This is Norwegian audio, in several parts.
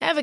Ever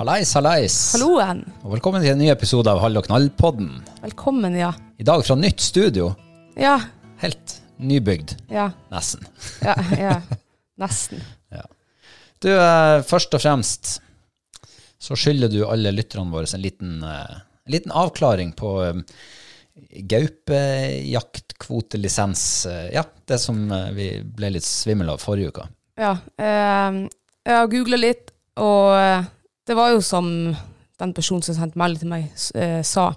Hallais, hallais. Halloen. Og velkommen til en ny episode av Hall og knall-podden. Velkommen, ja. I dag fra nytt studio. Ja, Helt nybygd, ja, nesten. ja. ja. Nesten. Du, eh, først og fremst så skylder du alle lytterne våre en liten, eh, en liten avklaring på eh, gaupejakt, kvotelisens, eh, ja, det som eh, vi ble litt svimmel av forrige uke. Ja. ehm, jeg har googla litt, og eh, det var jo som den personen som sendte melding til meg, s- eh, sa,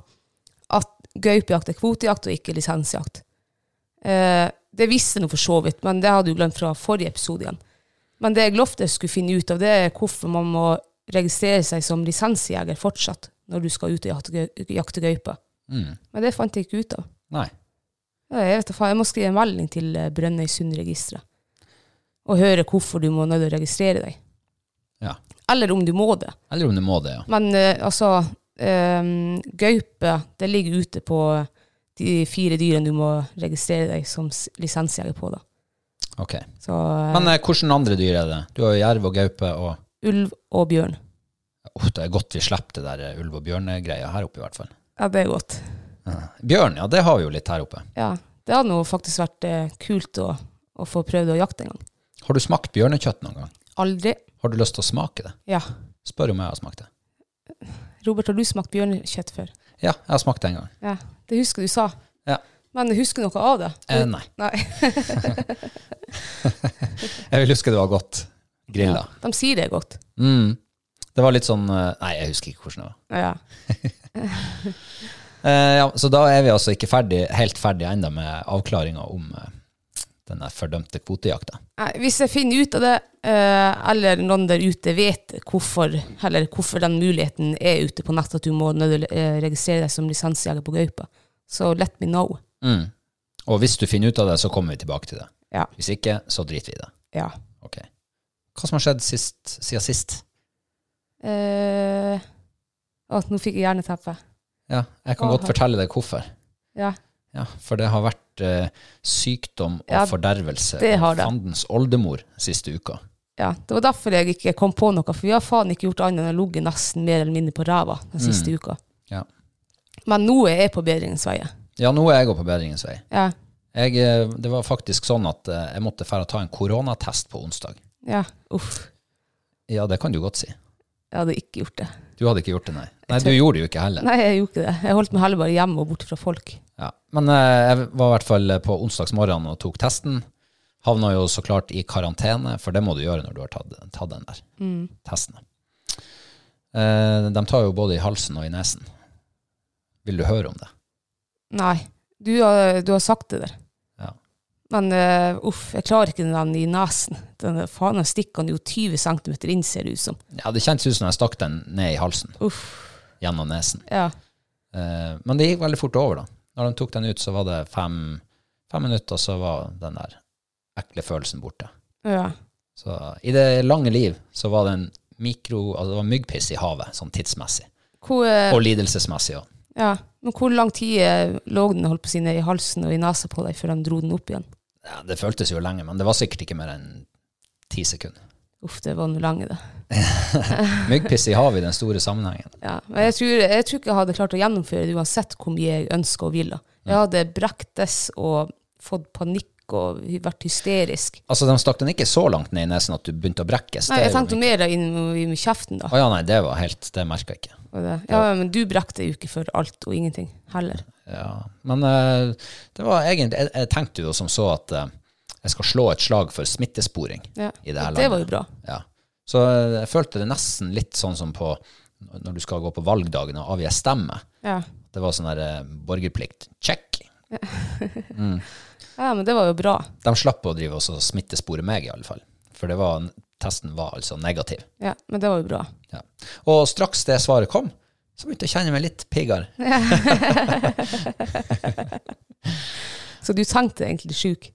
at gaupejakt er kvotejakt og ikke lisensjakt. Eh, det visste jeg nå for så vidt, men det hadde jeg jo glemt fra forrige episode igjen. Men det jeg lovte jeg skulle finne ut av, det er hvorfor man må registrere seg som lisensjeger fortsatt når du skal ut og jakte, gau- jakte gaupe. Mm. Men det fant jeg ikke ut av. Nei. Ja, Jeg vet da faen, jeg må skrive en melding til eh, Brønnøysundregisteret og høre hvorfor du må nødt til å registrere deg. Ja. Eller om du må det. Eller om du må det, ja. Men eh, altså, eh, gaupe det ligger ute på eh, de fire dyrene du må registrere deg som s- lisensjeger på. da. Ok. Så eh, Men eh, hvordan andre dyr er det? Du har jo jerv og gaupe og ulv og bjørn. Uff, det er godt vi slipper det der eh, ulv- og bjørnegreia her oppe, i hvert fall. Ja, det er godt. Bjørn, ja, det har vi jo litt her oppe. Ja, Det hadde nå faktisk vært eh, kult å, å få prøvd å jakte en gang. Har du smakt bjørnekjøtt noen gang? Aldri. Har du lyst til å smake det? Ja. Spør om jeg har smakt det. Robert, har du smakt bjørnekjøtt før? Ja, jeg har smakt det en gang. Ja, Det husker du sa. Ja. Men husker du noe av det? Eh, nei. Nei. Jeg vil huske det var godt. Grilla. De sier det er godt. Mm. Det var litt sånn eh, Nei, jeg husker ikke hvordan det var. Ja. Eh, ja, så da er vi altså ikke ferdig, helt ferdig ennå med avklaringa om eh, denne fordømte kvotejakta. Nei, Hvis jeg finner ut av det, eh, eller noen der ute vet hvorfor, eller hvorfor den muligheten er ute på nett, at du må nødvendig- eh, registrere deg som lisensjeger på gaupe, så let me know. Mm. Og hvis du finner ut av det, så kommer vi tilbake til det. Ja. Hvis ikke, så driter vi i det. Ja. Ok. Hva som har skjedd sist, siden sist? Eh, å, nå fikk jeg hjerneteppe. Ja, jeg kan Hva godt har- fortelle deg hvorfor. Ja. Ja, for det har vært eh, sykdom og Ja, fordervelse det har og det. fandens oldemor siste uka. ja. Det var derfor jeg ikke kom på noe, for vi har faen ikke gjort annet enn å ligge nesten mer eller mindre på ræva den siste uka. Ja. Men nå er jeg på bedringens vei. Ja, nå er jeg også på bedringens vei. Ja. Jeg, eh, det var faktisk sånn at eh, jeg måtte fære og ta en koronatest på onsdag. ja. Uff. Ja, det kan du godt si. Jeg hadde ikke gjort det. Du hadde ikke gjort det, nei. Nei, du gjorde det jo ikke heller. Nei, jeg gjorde ikke det. Jeg holdt meg heller bare hjemme og borte fra folk. eh, Ja. Men eh, jeg var i hvert fall på onsdagsmorgenen og tok testen. Havna jo så klart i karantene, for det må du gjøre når du har tatt, tatt den der testen. Eh, de tar jo både i halsen og i nesen. Vil du høre om det? Nei, du har, du har sagt det der. Ja. Men eh, uff, jeg klarer ikke den der i nesen. Den der, faen, den stikker den jo 20 cm inn, ser det ut som. Ja, Det kjentes ut som jeg stakk den ned i halsen Uff, gjennom nesen. ja. Eh, men det gikk veldig fort over, da. Når de tok den ut, så var det fem, fem minutter, så var den der ekle følelsen borte. ja. Så i det lange liv så var det en mikro, altså det var myggpiss i havet, sånn tidsmessig. Hvor, eh, Og lidelsesmessig òg. ja. Men hvor lang tid eh, lå den holdt på å si, ned i halsen og i nesa på deg før de dro den opp igjen? Ja, det føltes jo lenge, men det var sikkert ikke mer enn ti sekunder. Uff, det var noe lange det. Myggpiss i havet i den store sammenhengen. Ja, men jeg tror, jeg tror ikke jeg hadde klart å gjennomføre det uansett hvor mye jeg ønsker og vil. da. Jeg hadde brektes og fått panikk og hy- vært hysterisk. Altså, de stakk den ikke så langt ned i nesen at du begynte å brekkes. Nei, Det er jeg jo tenkte myk- mer da inn i i kjeften, da. Å ja, nei, det var helt Det merka jeg ikke. Og det. Ja, men du brekte jo ikke for alt og ingenting heller. Ja, men eh, det var egentlig Jeg, jeg tenkte jo som så at eh, jeg skal slå et slag for smittesporing Ja. i det her Og det var jo landet. bra. Ja. Så eh, jeg følte det nesten litt sånn som på når du skal gå på valgdagen og avgi stemme. Ja. Det var sånn der eh, borgerplikt. Check! ja, men det var jo bra. De slapp å drive og så smittespore meg, i alle fall. For det var, testen var altså negativ. Ja, men det var jo bra. Ja. Og straks det svaret kom, så begynte jeg å kjenne meg litt piggere. Så du tenkte egentlig sjuk.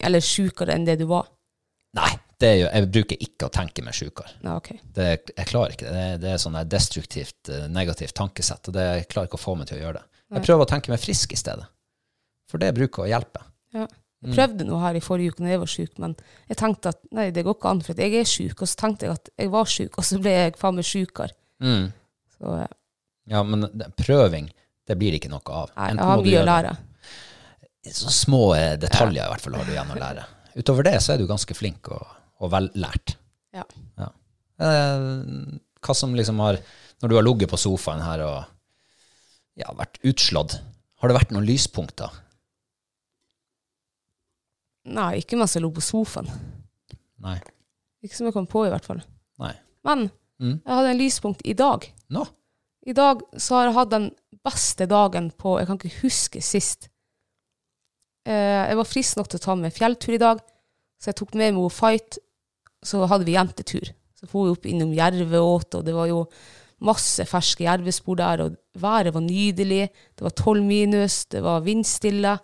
Eller sjukere enn det du var. Nei, det er jo, jeg bruker ikke å tenke meg sjukere. Ja, ok. Det, jeg klarer ikke det. Det, er- det er sånn der destruktivt, eh, negativt tankesett, og det, jeg klarer ikke å få meg til å gjøre det. Jeg prøver å tenke meg frisk i stedet, for det bruker å hjelpe. Ja. Mm. Jeg prøvde noe her i forrige uke når jeg var sjuk, men jeg tenkte at nei, det går ikke an, for at jeg er sjuk. Og så tenkte jeg at jeg var sjuk, og så ble jeg faen meg sjukere. Mm. Så eh, Ja, men det- prøving, det blir ikke noe av. nei, Enten jeg har må du mye å gjøre- lære. Så små eh, detaljer i hvert fall har du igjen å lære. Utover det så er du ganske flink og, og vellært. Ja. Ja. Eh, hva som liksom har Når du har ligget på sofaen her og ja, vært utslått, har det vært noen lyspunkter? Nei, ikke mens jeg lå på sofaen. Nei. Ikke som jeg kom på, i hvert fall. Nei. Men Mm. jeg hadde en lyspunkt i dag. Nå? I dag så har jeg hatt den beste dagen på Jeg kan ikke huske sist. Eh, jeg var frisk nok til å ta med fjelltur i dag, så jeg tok med meg henne Fight. Så hadde vi jentetur. Så for vi opp innom Jerveåt, og det var jo masse ferske jervespor der. Og været var nydelig. Det var tolv minus, det var vindstille.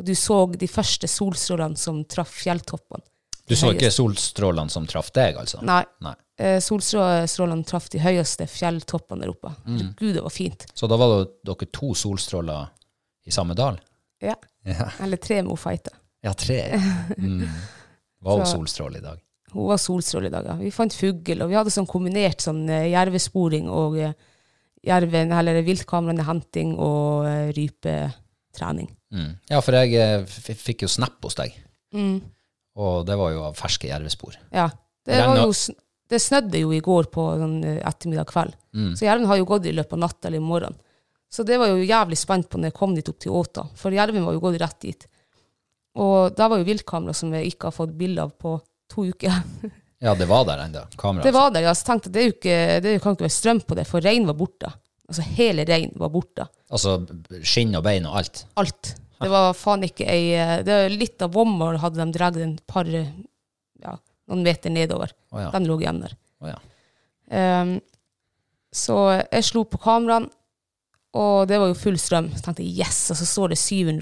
Og du så de første solstrålene som traff fjelltoppene. Du så ikke solstrålene som traff deg, altså? Nei. Eh, solstrålene traff de høyeste fjelltoppene der oppe. Gud, det var fint. Så da var det dere to solstråler i samme dal? Ja. Ja, Eller tre med Fight. da. ja tre. Mm. Var jo Så- solstråle i dag. Hun var solstråle i dag, ja. Vi fant fugl, og vi hadde sånn kombinert sånn eh, jervesporing og eh, jerven, eller viltkameraene henting og eh, rypetrening. Mm. Ja, for jeg eh, f- fikk jo snap hos deg, Mm. og det var jo av ferske jervespor. Ja. Det, Regna- var jo, sn- det snødde jo i går på sånn eh, ettermiddag kveld, så jerven har jo gått i løpet av natta eller i morgen. Så det var jo jævlig spent på når jeg kom dit opp til åta, for jerven var jo gått rett dit. Og der var jo viltkamera som jeg ikke har fått bilde av på to uker. Ja, det var der ennå. Kamera. Det var det, ja. Så tenkte jeg det, er jo ikke, det kan ikke være strøm på det, for rein var borte. Altså hele rein var borte. Altså skinn og bein og alt. Alt. Det var faen ikke ei eh, det var Litt av Vommer hadde de dratt en par eh, ja, noen meter nedover. Å ja. Den lå igjen der. Å ja. Ehm, så jeg slo på kameraene, og det var jo full strøm. Så tenkte jeg yes, og så står det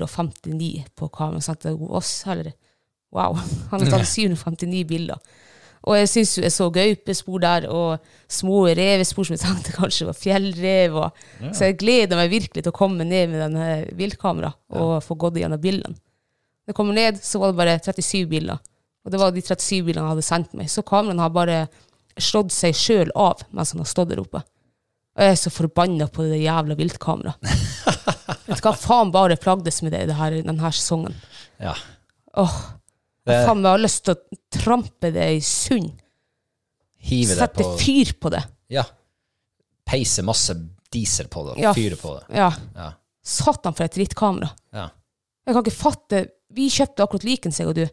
759 på kameraet. Så tenkte jeg oss, eller wow. Han har tatt 759 bilder. Og jeg syns jo jeg så gaupespor der, og små revespor som jeg tenkte kanskje var fjellrev. Og, Så jeg gleder meg virkelig til å komme ned med denne viltkamera og få gått gjennom bildene. Når jeg kommer ned, så var det bare 37 biler. Og det var de 37 bilene han hadde sendt meg. Så kameraene har bare slått seg sjøl av mens han har stått der oppe. Og jeg er så forbanna på det jævla viltkameraet. Vet du hva faen bare plagdes med det, det her, denne sesongen. ja. Åh, jeg faen meg har lyst til å trampe det i sund. Hive det Sette på fyr på det. Ja. Peise masse diesel på det og Ja, fyre på det. Ja. Ja. Satan for et drittkamera. ja. Jeg Jeg kan ikke fatte Vi kjøpte akkurat liken, seg og du.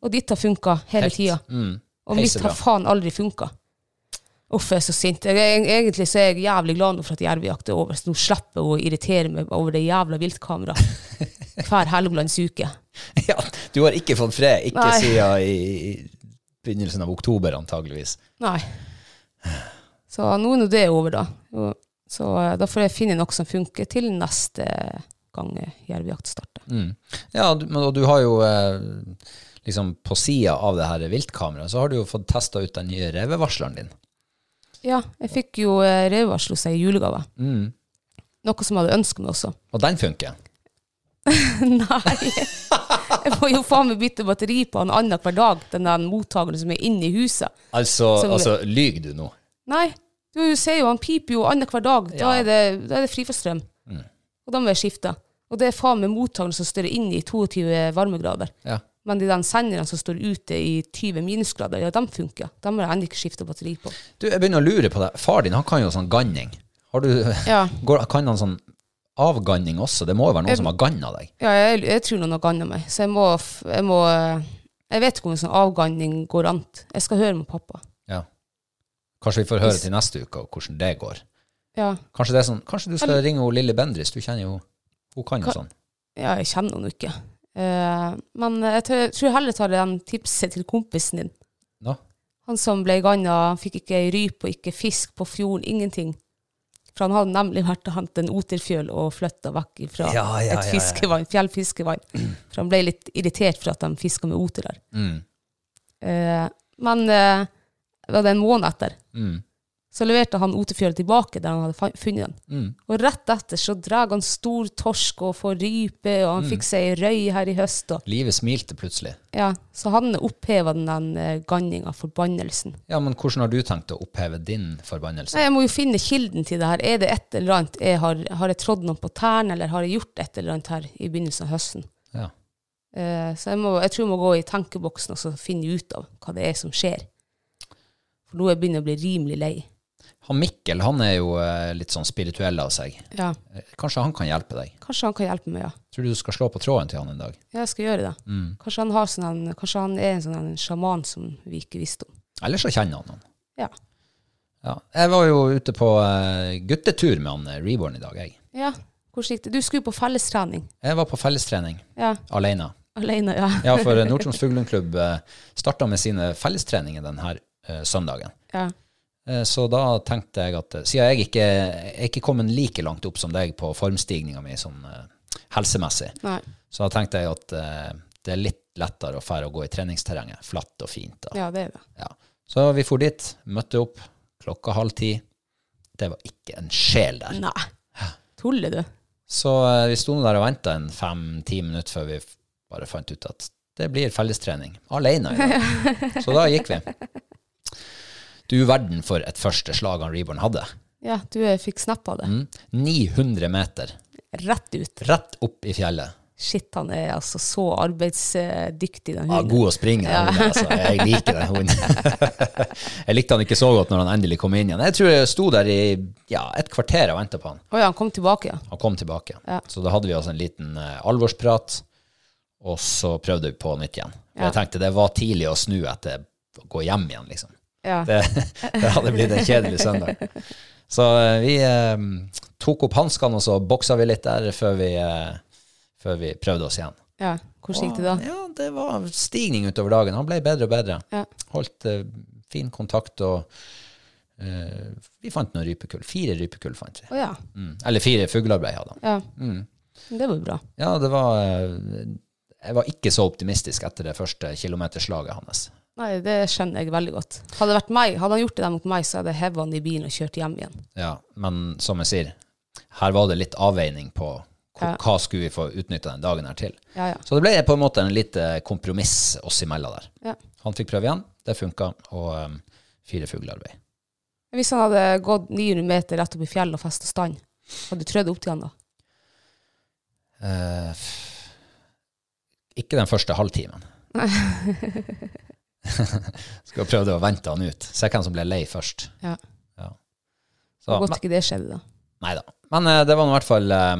Og ditt har funka Mm. hele Helt. tida. Mm. Og mitt Heisebra. har faen aldri funka. Uff, jeg er så sint. Jeg, jeg, egentlig så er jeg jævlig glad nå for at jervejakt er over, så nå slipper jeg å irritere meg over det jævla viltkameraet hver helgelands uke. Ja, du har ikke fått fred, ikke Nei. siden i, i begynnelsen av oktober antageligvis. Nei. Så nå er nå det over, da. Jo, Så eh, da får jeg finne noe som funker til neste gang eh, jervejakt starter. Ja, du, men, og du har jo eh, liksom på sida av det her viltkameraet, så har du jo fått testa ut den nye revevarsleren din. Ja, jeg fikk jo eh, rødvarsel hos ei julegave. Noe som jeg hadde ønsket meg også. Og den funker. Nei. Jeg må jo faen meg bytte batteri på han annen hver dag, den der mottakeren som er inne i huset. Altså, Som- altså lyg du nå? Nei, du ser jo, han piper jo annen hver dag. Da, Ja. er det, da er det fri for strøm. Og da må jeg skifte. Og det er faen meg mottakeren som står inne i 22 varmegrader. Ja. Men de der senderne som står ute i 20 minusgrader, ja, de funker. De må jeg ennå ikke skifte batteri på. Du, jeg begynner å lure på deg. Far din, han kan jo sånn ganning. Har du, Ja. går, kan han sånn avganning også? Det må jo være noen som har ganna deg. Ja, jeg, jeg tror noen har ganna meg, så jeg må, f- jeg må eh, Jeg vet ikke om en sånn avganning går an. Jeg skal høre med pappa. Ja. Kanskje vi får høre til neste uke og hvordan det går. Ja, Kanskje, det er sånn, kanskje du skal ringe hun Lille Bendris, du kjenner jo Hun kan jo Ka- sånn. ja jeg kjenner henne ikke. Eh, men jeg tør- jeg tror heller tar den tipset til kompisen din. Nå? Han som ble ganna, han fikk ikke ei rype og ikke fisk på fjorden, ingenting. For han hadde nemlig vært og hentet en oterfjøl og flytta vekk fra Ja, ja, ja, et ja. fiskevann, fjellfiskevann. For han ble litt irritert for at de fiska med oter der. Mm. Eh, men eh, det var det en måned etter, Mm. så leverte han oterfjøla tilbake der han hadde fa- funnet den. Mm. Og rett etter så drar han stor torsk og får rype, og Mm. han fikk seg ei røy her i høst. Og, Livet smilte plutselig. ja, så han oppheva den, den eh, ganninga, forbannelsen. Ja, men hvordan har du tenkt å oppheve din forbannelse? Nei, jeg må jo finne kilden til det her. Er det et eller annet? Jeg har, har jeg trådd noen på tærne, eller har jeg gjort et eller annet her i begynnelsen av høsten? Ja. Eh, så jeg, må, jeg tror jeg må gå i tenkeboksen og så finne ut av hva det er som skjer. For nå er jeg begynner jeg å bli rimelig lei. Han Mikkel han er jo eh, litt sånn spirituell av seg. Ja. Eh, Kanskje han kan hjelpe deg? Kanskje han kan hjelpe meg, ja. Tror du du skal slå på tråden til han en dag? Mm. Ja, Jeg skal gjøre det. Kanskje, han har sånn en, kanskje han er en sånn en sjaman som vi ikke visste om. Eller så kjenner han noen. Ja. Ja. Jeg var jo ute på eh, guttetur med han eh, Reborn i dag, jeg. ja. Hvordan gikk det? Du skulle på fellestrening. Jeg var på fellestrening Ja. alene. Alene, ja. Ja, for eh, Nord-Troms Fuglehundklubb starta med sine fellestreninger denne søndagen. ja. Eh, Så da tenkte jeg at eh, siden jeg ikke jeg er ikke kommet like langt opp som deg på formstigninga mi sånn eh, helsemessig, Nei. så da tenkte jeg at eh, det er litt lettere å fære å gå i treningsterrenget. Flatt og fint. Da. Ja, det er det. Ja. Så vi for dit, møtte opp klokka halv ti. Det var ikke en sjel der. Nei. Tuller du? Så eh, vi sto nå der og venta en fem-ti minutter før vi f- bare fant ut at det blir fellestrening alene. i dag. Så da gikk vi. Du verden for et første slag han Reborn hadde. Ja, du eh, fikk snap av det. Mm. 900 meter Rett ut. rett opp i fjellet. Shit, han er altså så arbeidsdyktig, den Ja, hunden. god å springe, den hunden. Altså. Jeg liker den hunden. Jeg likte han ikke så godt når han endelig kom inn igjen. Jeg tror jeg sto der i ja, et kvarter og venta på han. Å ja, han kom tilbake, ja. Han kom tilbake. Ja. Så da hadde vi altså en liten eh, alvorsprat, og så prøvde vi på nytt igjen. Og Ja. jeg tenkte det var tidlig å snu etter å gå hjem igjen, liksom. ja. Det, det hadde blitt en kjedelig søndag. Så eh, vi eh, tok opp hanskene, og så boksa vi litt der før vi, eh, før vi prøvde oss igjen. ja. Hvordan gikk det da? Ja, det var stigning utover dagen. Han ble bedre og bedre. Ja. Holdt eh, fin kontakt, og eh, vi fant noen rypekull. Fire rypekull fant vi. Å ja. Mm. Eller fire fugler ble jeg av da. Mm. ja. Det var jo bra. Ja, det var eh, Jeg var ikke så optimistisk etter det første kilometerslaget hans. Nei, det skjønner jeg veldig godt. Hadde, det vært meg, hadde han gjort det der mot meg, så hadde jeg hevet han i bilen og kjørt hjem igjen. Ja, men som jeg sier, her var det litt avveining på hva, Ja. hva skulle vi få utnytta den dagen her til. Ja, ja. Så det ble på en måte en lite kompromiss oss imellom der. Ja. Han fikk prøve igjen, det funka, og eh, fire fuglearbeid. Hvis han hadde gått 900 meter rett opp i fjellet og festet stand, hadde du trødd opp til han da? Eh, f- ikke den første halvtimen. Skal jeg prøvde å vente han ut. Se hvem som ble lei først. Ja. Ja. Så, Så, godt ikke det skjedde da. Nei da. Men eh, det var nå i hvert fall eh,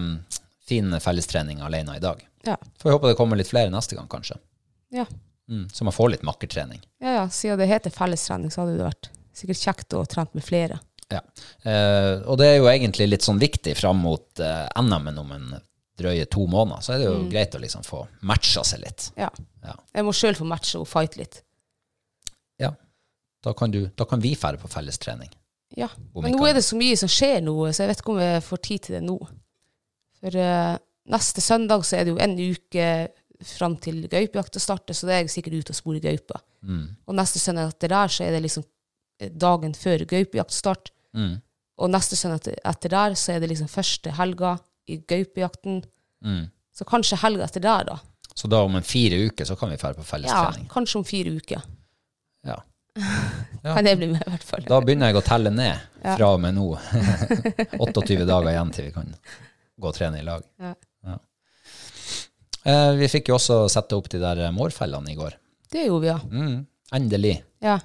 fin ehm, fellestrening alene i dag. Ja. Får vi håpe det kommer litt flere neste gang, kanskje. Ja. Mm, så man får litt makkertrening. Ja, ja. Siden det heter fellestrening, så hadde det vært sikkert kjekt å trene med flere. Ja. Eh, og det er jo egentlig litt sånn viktig fram mot eh, NM-en om en drøye to måneder. Så er det jo greit å liksom få matcha seg litt. Ja. Ja. Jeg må sjøl få matche og fight litt. Ja. Da kan, du, da kan vi fære på fellestrening. Ja. Om Men ikke nå er annet. det så mye som skjer nå, så jeg vet ikke om jeg får tid til det nå. For eh, neste søndag så er det jo en uke fram til gaupejakta starter, så da er jeg sikkert ute og sporer gaupa. Mm, Og neste søndag etter der så er det liksom eh, dagen før gaupejaktstart. Mm. Og neste søndag etter- etter der så er det liksom første helga i gaupejakten. Mm. Så kanskje helga etter der, da. Så da om en fire uker så kan vi fære på Ja, fellestrening. kanskje om fire uker. Ja. Ja. Kan jeg bli med, i hvert fall. Da begynner jeg å telle ned fra og med nå. 28 dager igjen til vi kan gå og trene i lag. Ja. Ja. Eh, vi fikk jo også sette opp de der eh, mårfellene i går. Det gjorde vi, ja. Mm. Endelig. ja.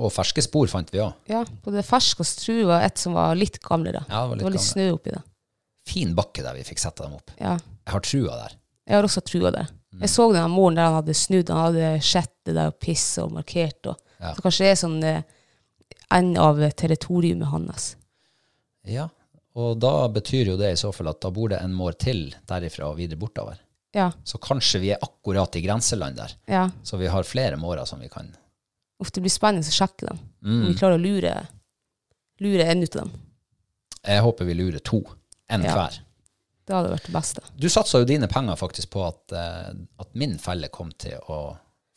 Og ferske spor fant vi òg. Ja, både fersk og stru var et som var litt gamlere. Ja, det var litt det var litt gamle. snø oppi det. Fin bakke der vi fikk sette dem opp. Ja, Jeg har trua der. jeg har også trua det. Mm. Jeg så den moren der han hadde snudd, han hadde sett det der og pissa og markert. Og. Ja. Så kanskje det er sånn eh, en av eh, territoriumet hans. Ja, og da betyr jo det i så fall at da bor det en mår til derifra og videre bortover. Ja, Så kanskje vi er akkurat i grenseland der. ja. Så vi har flere mårer som vi kan Mm. Uff, det blir spennende å sjekke dem. Om vi klarer å lure, lure en ut av dem. Jeg håper vi lurer to. En Ja. hver. Det hadde vært det beste. Du satsa jo dine penger faktisk på at, eh, at min felle kom til å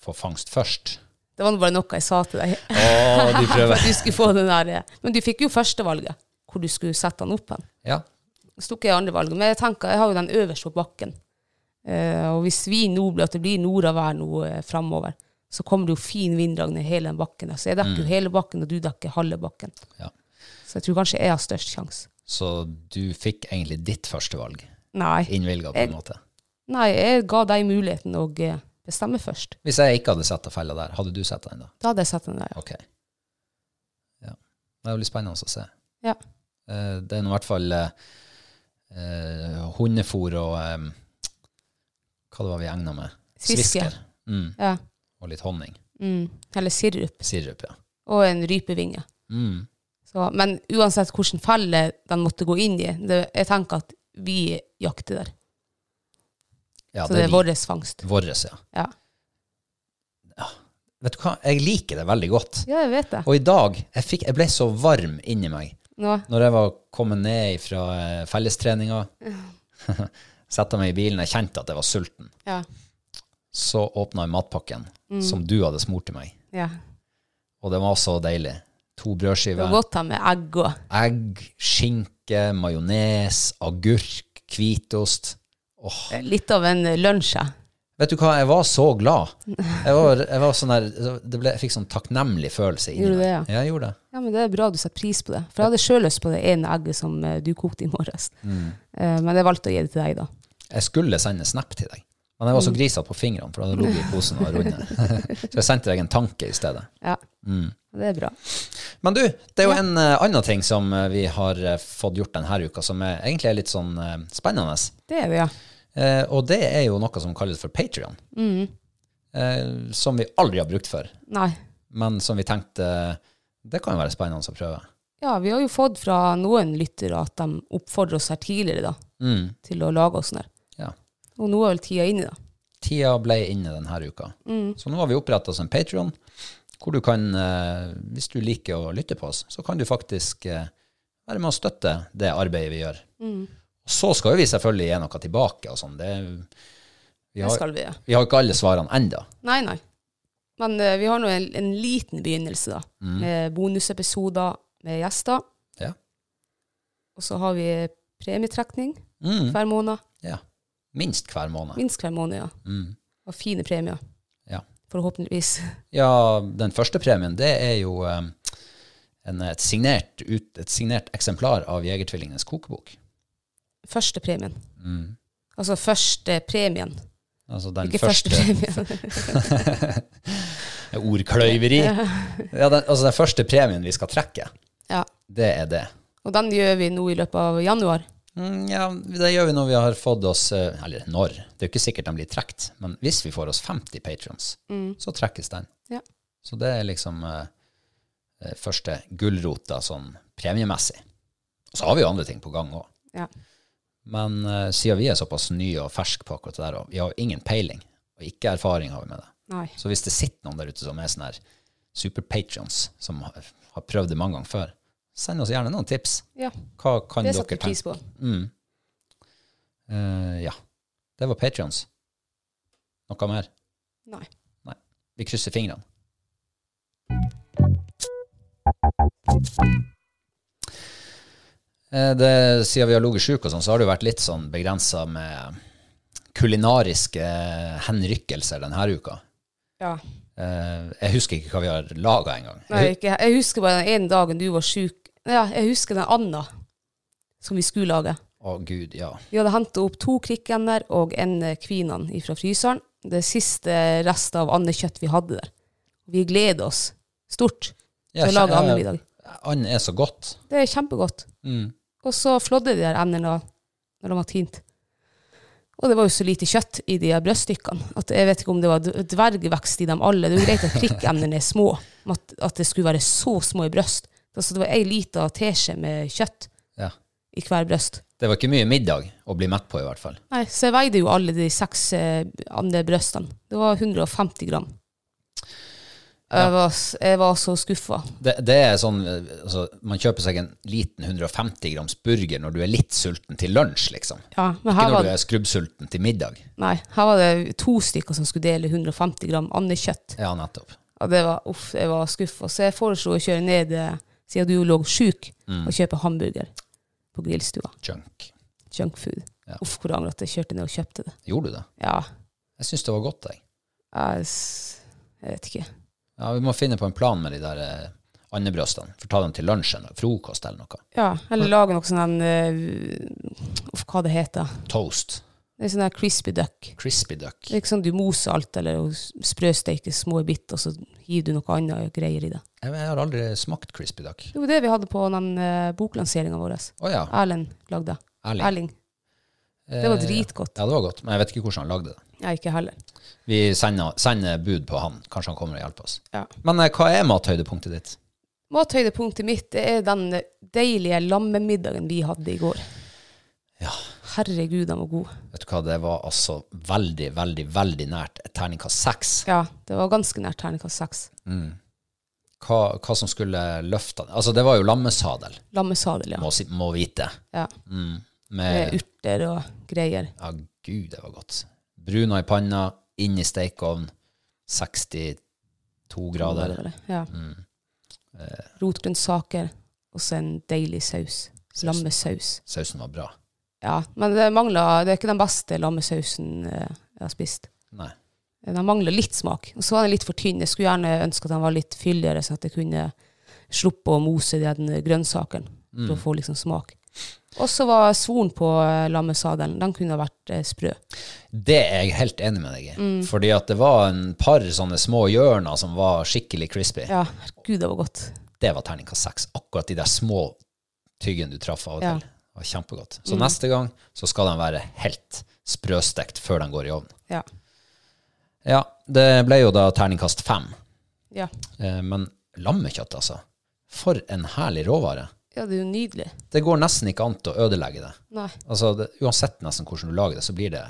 få fangst først. Det var nå bare noe jeg sa til deg. Å, du For at prøver. du skulle få den der. eh. Men du fikk jo førstevalget, hvor du skulle sette han opp hen. Ja. Så tok jeg andre valget. Men jeg tenker, jeg har jo den øverst på bakken. Eh, og hvis vi nå blir at det blir nordavær nå eh, framover, så kommer det jo fin vinddrag ned hele den bakken. der. Så jeg dekker jo hele bakken, og du dekker halve bakken. Mm. Ja. Så jeg tror kanskje jeg har størst sjanse. Så du fikk egentlig ditt førstevalg Nei. innvilga på en måte. Nei, jeg ga deg muligheten å eh, bestemme først. Hvis jeg ikke hadde sett fella der, hadde du sett den da? Da hadde jeg satt den der, ja. Ok. Ja. Det er jo litt spennende å se. ja. Eh, Det er nå i hvert fall eh, eh, hundefôr og eh, Hva det var vi egna med? Svisker. Mm. ja. Og litt honning. Mm. Eller sirup. Sirup, ja. Og en rypevinge. Mm. Så, men uansett hvilken felle den måtte gå inn i, det, jeg tenker at vi jakter der. ja så det er vi. vår fangst. Våres, ja. Ja. Vet du hva, jeg liker det veldig godt. ja, jeg vet det. Og i dag jeg, fikk, jeg ble så varm inni meg Nå, når jeg var kommet ned fra eh, fellestreninga. Sette meg i bilen. Jeg kjente at jeg var sulten. ja. Så åpna jeg matpakken Mm. som du hadde smurt til meg. ja. Og det var så deilig. To Det var brødskiver. godt å ha med egg òg. egg, skinke, majones, agurk, hvitost. Litt av en eh, lunsj. ja. Vet du hva, jeg var så glad. Jeg, var, jeg, var sånn der, det ble, jeg fikk sånn takknemlig følelse inni Gjorde du meg. det, ja? Ja, jeg gjorde det. Ja, men Det er bra du setter pris på det. For jeg hadde sjøl lyst på det ene egget som eh, du kokte i morges. Eh, Men jeg valgte å gi det til deg, da. Jeg skulle sende snap til deg, men jeg var så grisete på fingrene, for da hadde jeg ligget i posen og rundet. så jeg sendte deg en tanke i stedet. Ja. Det er bra. Men du, det er jo en eh, annen ting som eh, vi har eh, fått gjort denne uka, som er, egentlig er litt sånn eh, spennende. Det er det, ja. Eh, og det er jo noe som kalles for Patrion, eh, som vi aldri har brukt før. Nei. men som vi tenkte eh, det kan jo være spennende å prøve. Ja, vi har jo fått fra noen lyttere at de oppfordrer oss her tidligere da, Mm. til å lage oss der. Ja. Og nå er vel tida inne, da. Tida ble inne denne uka. Så nå har vi oppretta oss en Patrion, hvor du kan, eh, hvis du liker å lytte på oss, så kan du faktisk eh, være med å støtte det arbeidet vi gjør. Mm. Og så skal jo vi selvfølgelig gi noe tilbake og sånn. Det, vi, Det har, skal vi. ja. vi har jo ikke alle svarene enda. Nei, nei. Men eh, vi har nå en, en liten begynnelse, da. Med bonusepisoder med gjester. Mm. Ja. Og så har vi premietrekning Mm. hver måned. ja. Minst hver måned. Minst hver måned, ja. Mm. Og fine premier. Ja. Forhåpentligvis. Ja, den første premien, det er jo eh, en, et, signert, ut, et signert eksemplar av Jegertvillingenes kokebok. Første premien. Mm. Altså første premien. Altså den Ikke første, første, premien. Ordkløyveri. Ja, den, altså den første premien vi skal trekke, ja. det er det. Og den gjør vi nå i løpet av januar. Mm, ja, det gjør vi når vi har fått oss eh, Eller når. Det er jo ikke sikkert den blir trukket. Men hvis vi får oss 50 patrons, så trekkes den. Ja. Så det er liksom eh, eh, første gulrota sånn premiemessig. Og så har vi jo andre ting på gang òg. Ja. Men eh, siden vi er såpass nye og ferske på akkurat det der, og vi har jo ingen peiling, og ikke erfaring har vi med det, Nei. så hvis det sitter noen der ute som er sånne her super-patrons, som har, har prøvd det mange ganger før, send oss gjerne noen tips. Ja, Hva kan det dere setter vi tenke? pris på. Mm. Eh, ja. Det var Patrions. Noe mer? Nei. Nei. Vi krysser fingrene. Eh, Det, siden vi har ligget sjuke, og sånn, så har det jo vært litt sånn begrensa med kulinariske henrykkelser denne uka. Ja. Eh, Jeg husker ikke hva vi har laga engang. Nei, ikke. Jeg husker bare den ene dagen du var syk. Ja, jeg husker den Anna som vi skulle lage. Å, gud, ja. Vi hadde hentet opp to krikkender og en eh, kvinan fra fryseren. Det siste restet av andekjøtt vi hadde der. Vi gleder oss stort til Ja, å lage kje- andemiddag. And er så godt. Det er kjempegodt. Mm. Og så flådde de der endene når de var tint. Og det var jo så lite kjøtt i de her brødstykkene at jeg vet ikke om det var d- dvergvekst i dem alle. Det er jo greit at krikkemnene er små, men at, at det skulle være så små i brøst. Altså det var ei lita teskje med kjøtt Ja. i hver brøst. Det var ikke mye middag å bli mett på, i hvert fall. Nei, så jeg veide jo alle de seks eh, andre brøstene. Det var 150 gram. Jeg, var, s- jeg var så skuffa. Det, det er sånn, eh, altså, Man kjøper seg en liten 150 grams burger når du er litt sulten til lunsj, liksom. Ja, men Ikke her når var, du er skrubbsulten til middag. nei, her var det to stykker som skulle dele 150 gram andekjøtt. Ja, nettopp. Ja, det var, uff, jeg var skuffa. Så jeg foreslo å kjøre ned, eh, siden du lå sjuk, og kjøpe hamburger på grillstua. Mm, Junk. Junkfood. Ja. Uff, hvor jeg angrer at jeg kjørte ned og kjøpte det. Gjorde du det? Ja, Jeg syns det var godt, jeg. jeg, s- jeg vet ikke. Ja, Vi må finne på en plan med de der eh, andebrøstene. For ta dem til lunsj eller frokost eller noe. Ja, eller lage noe sånn en eh, Uff, hva det heter. Toast. Det er sånn der crispy duck. Crispy duck. Det er ikke sånn du moser alt, eller og s- sprøsteiker små biter, og så hiver du noe annet greier i det. Jeg, jeg har aldri smakt crispy duck. Det var det vi hadde på den uh, boklanseringa vår. Å ja. Erlend lagde. Erling. Eh. Erling. Det var dritgodt. Ja, det var godt. Men jeg vet ikke hvordan han lagde det. Jeg ikke heller. Vi sender, sender bud på han. Kanskje han kommer og hjelper oss. Ja. Men eh, hva er mathøydepunktet ditt? Mathøydepunktet mitt det er den deilige lammemiddagen vi hadde i går. Ja. Herregud, den var god. Vet du hva, det var altså veldig, veldig, veldig nært et terningkast seks. Mm. Ja, det var ganske nært terningkast seks. Hva, hva som skulle løfte den. Altså, det var jo lammesadel, Lammesadel, ja. må, si, må vite. ja. Mm. Med Med, urter og greier. ja, gud, det var godt. Bruna i panna, inn i stekeovn, 62 grader. Ja. Mm. Rotgrønnsaker og så en deilig saus. Lammesaus. Sausen var bra. Ja, men det mangler Det er ikke den beste lammesausen eh, jeg har spist. Nei. Den mangler litt smak. Og så var den litt for tynn. Jeg skulle gjerne ønske at den var litt fyldigere, sånn at jeg kunne sluppe å mose de her grønnsakene for å få liksom smak. Og så var svoren på eh, lammesadelen. Den kunne ha vært eh, sprø. Det er jeg helt enig med deg i. Mm. Fordi at det var en par sånne små hjørner som var skikkelig crispy. Ja, herregud, det var godt. det var terningkast seks. Akkurat de der små tyggen du traff av og Ja. Mm. til. Det var kjempegodt. Så neste gang så skal den være helt sprøstekt før den går i ovnen. Ja. Ja, det ble jo da terningkast fem. Ja, Eh, men lammekjøtt, altså. For en herlig råvare. ja det er jo nydelig. Det går nesten ikke an til å ødelegge det. Nei. Altså, det, Uansett nesten hvordan du lager det, så blir det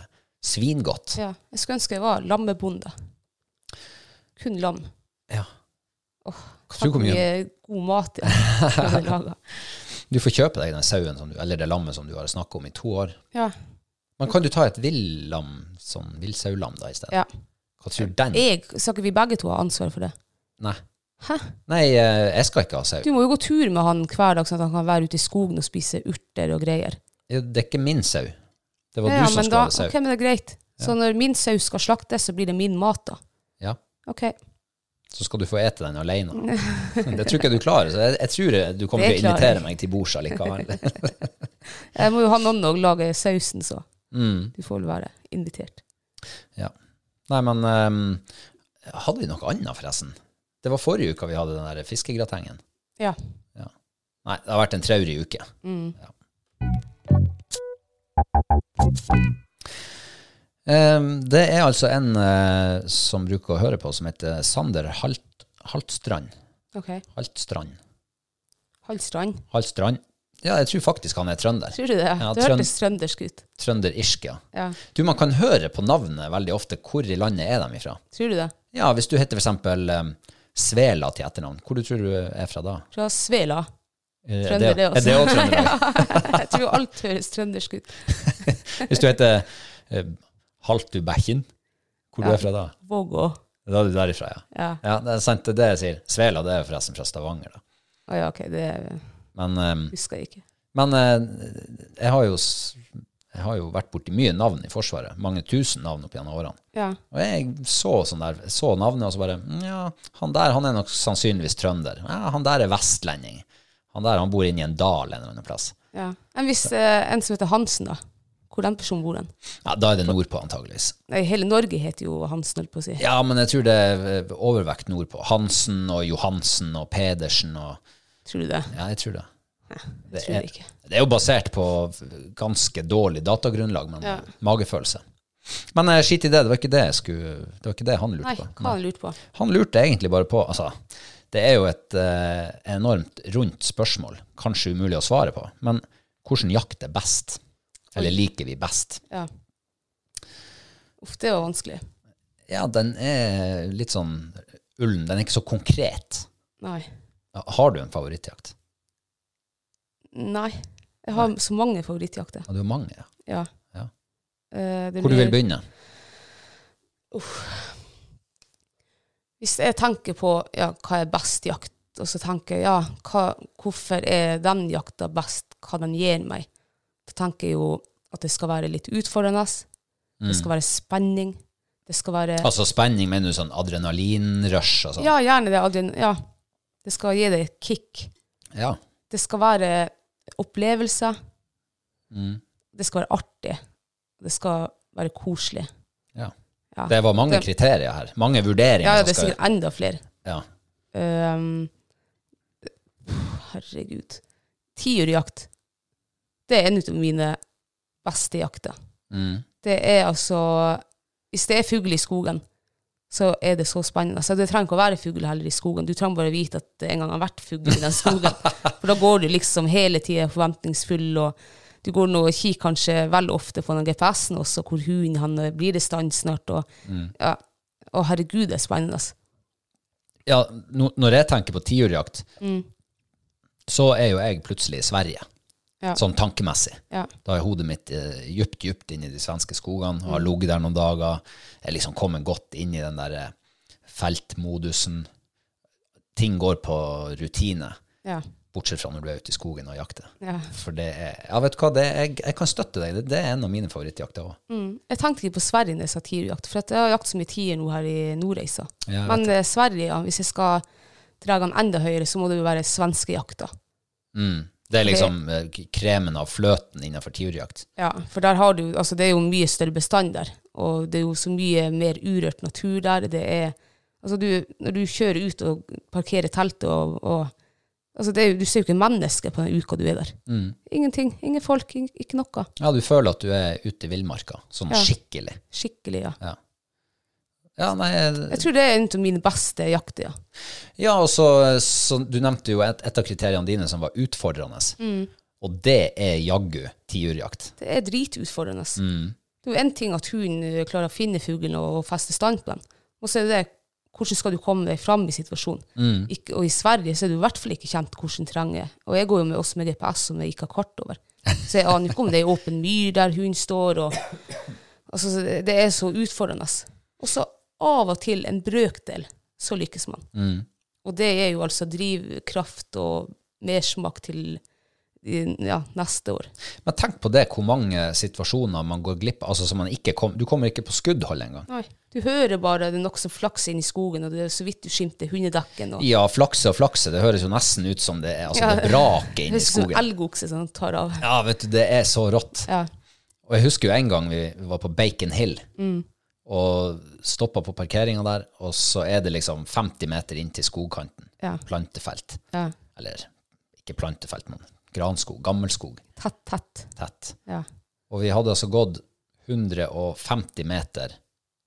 svingodt. Ja. Jeg skulle ønske jeg var lammebonde. Kun lam. Ja. Åh, Tror du hvor mye- god mat jeg hadde laga. Du får kjøpe deg den sauen som du, eller det lammet som du har snakket om i to år. Ja. Men kan du ta et villam, sånn villsaulam da i stedet? ja. Hva tror du den Jeg, Skal ikke vi begge to ha ansvar for det? Nei. Hæ? Nei, eh, jeg skal ikke ha sau. Du må jo gå tur med han hver dag, sånn at han kan være ute i skogen og spise urter og greier. Det er ikke min sau. Det var Ja, du som men skulle da, ha sau. ok, men det er greit. Så når min saus skal slaktes, så blir det min mat, da. Ja, Ok. så skal du få ete den alene. det tror ikke jeg du klarer. Så jeg, jeg tror du kommer Det til å klarer jeg. invitere meg til bords allikevel. Jeg må jo ha noen å lage sausen, så mm. du får vel være invitert. Nei, men ehm, hadde vi noe annet, forresten? Det var forrige uka vi hadde den der fiskegratengen. Ja. Nei, det har vært en traurig uke. Mm. Ja. Ehm, Det er altså en eh, som bruker å høre på, som heter Sander Halt, Haltstrand. Ok. Haltstrand. Halvstrand. Haltstrand. Ja, jeg tror faktisk han er trønder. Tror du det? Ja, det trønd- hørtes trøndersk ut. Trønder-irsk, ja. Ja. Du, man kan høre på navnet veldig ofte hvor i landet er de ifra. Tror du det? Ja, hvis du heter for eksempel ehm, Svela til etternavn, hvor du tror du er fra da? Fra Svela. Eh, Trønder det Er også. det også trønder? da? Jeg tror alt høres trøndersk ut. Hvis du heter eh, Haltubekken, hvor du Ja. er fra da? Vågå. Da er du derifra, ja. Ja. Ja, det er sant, det er det jeg sier. Svela, det er jo forresten fra Stavanger, da. Å ja, ok. Det Men, ehm, husker jeg ikke. men eh, jeg, har jo, s- jeg har jo vært borti mye navn i Forsvaret. Mange tusen navn opp gjennom årene. Ja. Og jeg så, sånn der, så navnet, og så bare «Mm, Ja, han der han er nok sannsynligvis trønder. Ja, han der er vestlending. Han der han bor inne i en dal en eller annen plass. ja. En viss eh, en som heter Hansen, da. Hvor den personen bor den? Ja, Da er det nordpå, antageligvis. Nei, hele Norge heter jo Hansen, holdt på å si. Ja, men jeg tror det er eh, overvekt nordpå. Hansen og Johansen og Pedersen og Tror du det? Ja, jeg tror det. Jeg er- tror det ikke. Det er jo basert på ganske dårlig datagrunnlag, men Ja. magefølelse. Men eh, skit i det, det var ikke det, jeg skulle, det var ikke det han lurte Nei, på. hva har han lurt på? Han lurte egentlig bare på altså, Det er jo et eh, enormt rundt spørsmål, kanskje umulig å svare på, men hvordan jakt er best? Eller liker vi best? Ja. Uff, det var vanskelig. Ja, den er litt sånn ullen. Den er ikke så konkret. Nei. Ja, Har du en favorittjakt? Nei. Jeg har så mange favorittjakter. Ja, du har mange. ja. Ja. Ja. Eh, det Hvor du blir- vil begynne? Hvis jeg tenker på ja, hva er best jakt, og så tenker jeg ja, hva, hvorfor er den jakta best, hva den gir meg, da tenker jeg jo at det skal være litt utfordrende, det skal være spenning, det skal være Mm. Altså spenning, mener du sånn adrenalinrush og sånn? Ja, gjerne det. adren- Ja. Det skal gi deg et kick. ja. Det skal være opplevelser. Mm. Det skal være artig. Det skal være koselig. Ja. Ja. Det var mange Det- kriterier her. Mange vurderinger. Ja, som det er skal- sikkert enda flere. ja. Ehm, herregud. Tiurjakt. Det er en av mine beste jakter. Mm. Det er altså Hvis det er fugl i skogen, så er det så spennende. Så det trenger ikke å være fugl heller i skogen. Du trenger bare vite at det en gang har vært fugl i den skogen. For da går du liksom hele tida forventningsfull, og du går nå og kikker kanskje vel ofte på den GPS-en også, hvor hunden han er. blir det stans snart, og ja. Å, herregud, det er spennende. altså. ja no, når jeg tenker på tiurjakt, Mm. så er jo jeg plutselig i Sverige. Ja. Sånn tankemessig. Ja. Da er hodet mitt eh, djupt, djupt inn i de svenske skogene, har Mm. ligget der noen dager, er liksom kommet godt inn i den der eh, feltmodusen. Ting går på rutine, Ja. bortsett fra når du er ute i skogen og jakter. Ja. For det er, ja, vet du hva, det er, jeg, jeg kan støtte deg, det, det er en av mine favorittjakter òg. Mm. Jeg tenkte ikke på Sverige når jeg sa tiurjakt, for at jeg har jakt så mye tier nå her i Nordreisa. Ja, jeg Men eh, Sverige, ja, hvis jeg skal dra den enda høyere, så må det jo være svenskejakta. Mm. Det er liksom eh, k- kremen av fløten innenfor tiurjakt. Ja, for der har du, altså det er jo mye større bestand der, og det er jo så mye mer urørt natur der. Det er, altså du, når du kjører ut og parkerer teltet og, og altså det er, jo- du ser jo ikke mennesker på den uka du er der. Ingenting, ingen folk, ing- ikke noe. Ja, du føler at du er ute i villmarka, sånn Ja. skikkelig. Skikkelig, ja. Ja. Ja, nei, Jeg tror det er en av mine beste jakter, ja. ja, og så, så Du nevnte jo et, et av kriteriene dine som var utfordrende, Mm. og det er jaggu tiurjakt. Det er dritutfordrende. Det er jo én ting at hunden klarer å finne fuglen og feste stand på den, og så er det hvordan skal du komme deg fram i situasjonen. Ikke, og i Sverige så er du i hvert fall ikke kjent hvordan terrenget er. Og jeg går jo med, også med GPS som jeg ikke har kart over. Så jeg aner ikke om det er åpen myr der hunden står, og altså, så det- Det er så utfordrende. Og så av og til, en brøkdel, så lykkes man. Og det er jo altså drivkraft og mersmak til i- ja, neste år. Men tenk på det, hvor mange situasjoner man går glipp av. altså som man ikke kom, Du kommer ikke på skuddhold engang. Nei. Du hører bare det er noe som flakser inn i skogen, og det er så vidt du skimter hundedekken. Og Ja, flakse og flakse, det høres jo nesten ut som det er altså Ja. det braker det inni høres ut som skogen. sånn elgokse som tar av. Ja, vet du, det er så rått. Ja. Og jeg husker jo en gang vi var på Bacon Hill, Mm. og stoppa på parkeringa der, og så er det liksom 50 meter inn til skogkanten. Ja. Plantefelt. ja. Eller ikke plantefelt, men granskog. Gammelskog. Tett, tett. Tett. Ja. Og vi hadde altså gått 150 meter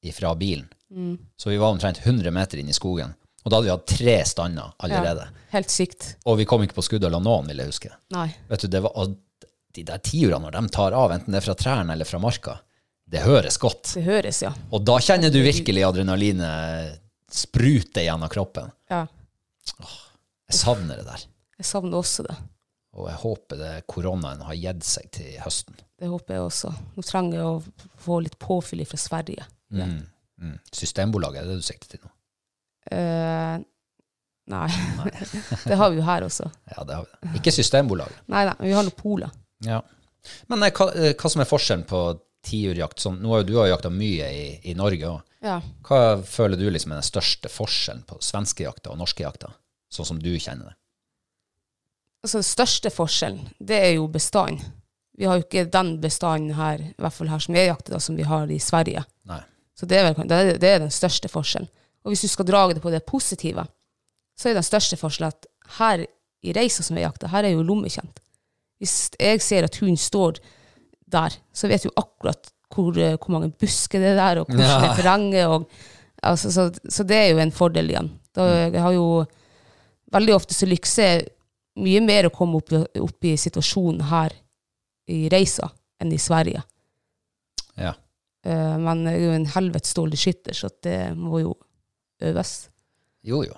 ifra bilen. Mm. Så vi var omtrent 100 meter inn i skogen. Og da hadde vi hatt tre stander allerede. Helt sykt. Og vi kom ikke på skuddhold av noen, vil jeg huske. Nei. Vet du, det var, og de der tiurene, når de tar av, enten det er fra trærne eller fra marka, det høres godt. Det høres, ja. Og da kjenner du virkelig adrenalinet sprute gjennom kroppen. ja. Jeg savner det der. Jeg savner også det. Og jeg håper det koronaen har gitt seg til høsten. Det håper jeg også. Nå trenger jeg å få litt påfyll fra Sverige. Mm. Mm. Systembolaget, er det du sikter til nå? Eh, nei. det har vi jo her også. Ja, det har vi. det. Ikke Systembolaget. Nei, nei, vi har nå Polet. Mm. Ja. Men eh, hva, eh, hva som er forskjellen på tiurjakt? Sånn, nå har jo du har jo jakta mye i, i Norge òg. Ja. Hva føler du liksom er den største forskjellen på svenskejakta og norskjakta, sånn som du kjenner det? Altså, den største forskjellen, det er jo bestand. Vi har jo ikke den bestanden her, i hvert fall her som jeg jakter, da, som vi har i Sverige. Nei. Så det er, vel, det er- det er den største forskjellen. Og hvis du skal dra det på det positive, så er den største forskjellen at her i reisa som jeg jakter, her er jo lommekjent. Hvis jeg ser at hunden står der, så vet jeg jo akkurat hvor, eh, hvor mange busker det er der, og hvordan Ja. det er terrenget. Og, altså, så, så det er jo en fordel igjen. Da, jeg har jo veldig ofte så lykkes jeg mye mer å komme opp, opp i situasjonen her i reisa enn i Sverige. Ja. Eh, Men jeg er jo en helvetes dårlig skytter, så det må jo øves. Jo, jo.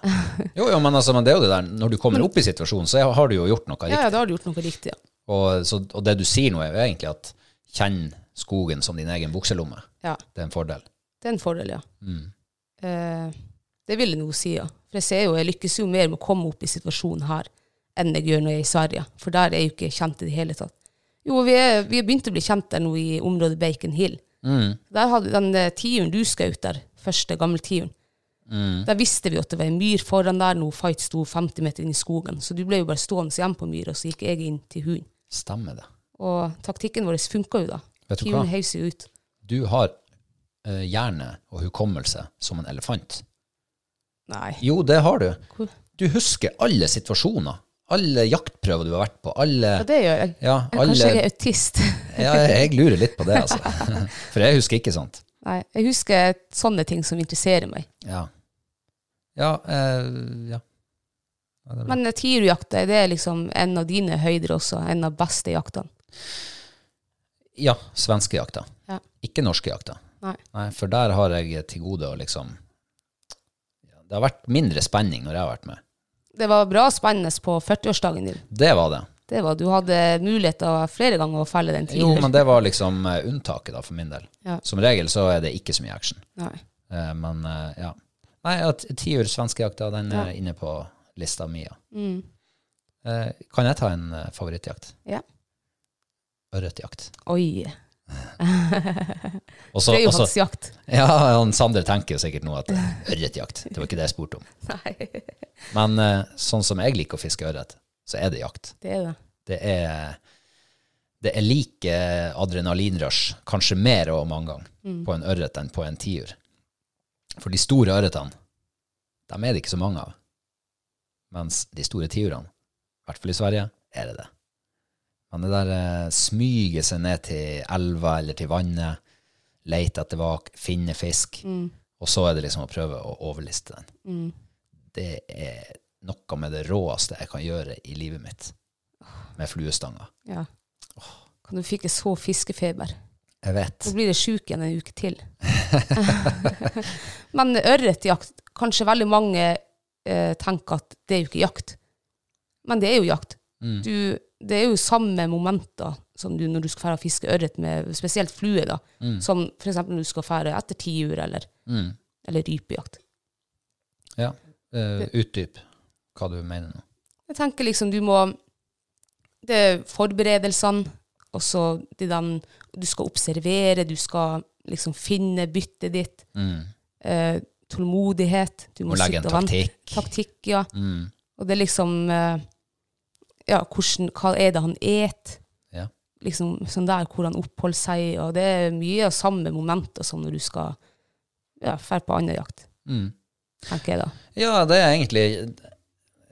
Jo, jo, men, altså, men det er jo det der, når du kommer opp i situasjonen, så har du jo gjort noe riktig. da har du gjort noe riktig. Og, så, og det du sier nå, er jo egentlig at kjenn skogen som din egen bukselomme. Ja. Det er en fordel. Det er en fordel, ja. Mm. Eh, Det vil jeg nå si, ja. For jeg ser jo, jeg lykkes jo mer med å komme opp i situasjonen her enn jeg gjør når jeg er i Sverige. For der er jeg jo ikke kjent i det hele tatt. Jo, vi er, vi er begynt å bli kjent der nå i området Bacon Hill. Mm. Der hadde den eh, tiuren du skjøt der, første gammeltiuren, Mm. der visste vi jo at det var en myr foran der nå Fight sto 50 meter inn i skogen. Så du ble jo bare stående igjen på myra, så gikk jeg inn til hunden. Stemmer det. Og taktikken vår funka jo, da. Vet du hva? Tiuren heiser jo ut. Du har eh, hjerne og hukommelse som en elefant. Nei. Jo, det har du. Hvor? Du husker alle situasjoner. Alle jaktprøver du har vært på. Alle, Ja, det gjør jeg. ja, Kanskje jeg alle, er autist. ja, jeg lurer litt på det, altså. For jeg husker ikke sånt. Nei, jeg husker sånne ting som interesserer meg. Ja. Ja, eh, ja. Men eh, tiurjakta, det er liksom en av dine høyder også. En av beste jaktene. ja svenskejakta. Ja. Ikke norskejakta. Nei. Nei, for der har jeg til gode å liksom ja, Det har vært mindre spenning når jeg har vært med. Det var bra spennende på 40-årsdagen din. Det var det. Det var, Du hadde muligheter flere ganger å felle den Jo, men tiuren. det var liksom eh, unntaket da, for min del. Ja. Som regel så er det ikke så mye action. Nei. Eh, men eh, ja. Nei, at tiur svenskejakta, den er inne på lista mi. ja. Mm. Eh, kan jeg ta en eh, favorittjakt? Ja. Ørretjakt. Oi. Og så- Det er jo og så- hans jakt. Ja, han Sander tenker jo sikkert nå at eh, ørretjakt, det var ikke det jeg spurte om. Nei, Men eh, sånn som jeg liker å fiske ørret, så er det jakt. det er det. Det er, det er like adrenalinrush, kanskje mer og mange ganger, på en ørret enn på en tiur. For de store ørretene, dem er det ikke så mange av. Mens de store tiurene, i hvert fall i Sverige, er det det. Men det der eh, smyger seg ned til elva eller til vannet, leter etter vak, finner fisk, Mm. og så er det liksom å prøve å overliste den. Det er noe med det råeste jeg kan gjøre i livet mitt med fluestanger. Ja. Kan du fikk jeg så fiskefeber? Jeg vet. Så blir jeg sjuk igjen en uke til. Men ørretjakt, kanskje veldig mange eh, tenker at det er jo ikke jakt. Men det er jo jakt. Du, det er jo samme momenter som du når du skal fære og fiske ørret med spesielt flue, da. Som for eksempel når du skal fære etter tiur eller, Mm. eller rypejakt. Ja. Eh, utdyp hva du mener nå. Jeg tenker liksom du må Det er forberedelsene, og så de den Du skal observere, du skal liksom finne byttet ditt. Mm. eh, tålmodighet. Du må Må legge en sitte og vente. taktikk. Taktikk, ja. Mm. Og det er liksom eh, Ja, hvordan, hva er det han et? Ja. Liksom sånn der hvor han oppholder seg, og det er mye av samme momenter som når du skal ja, ferd på annen jakt, Mm. tenker jeg da. ja, det er egentlig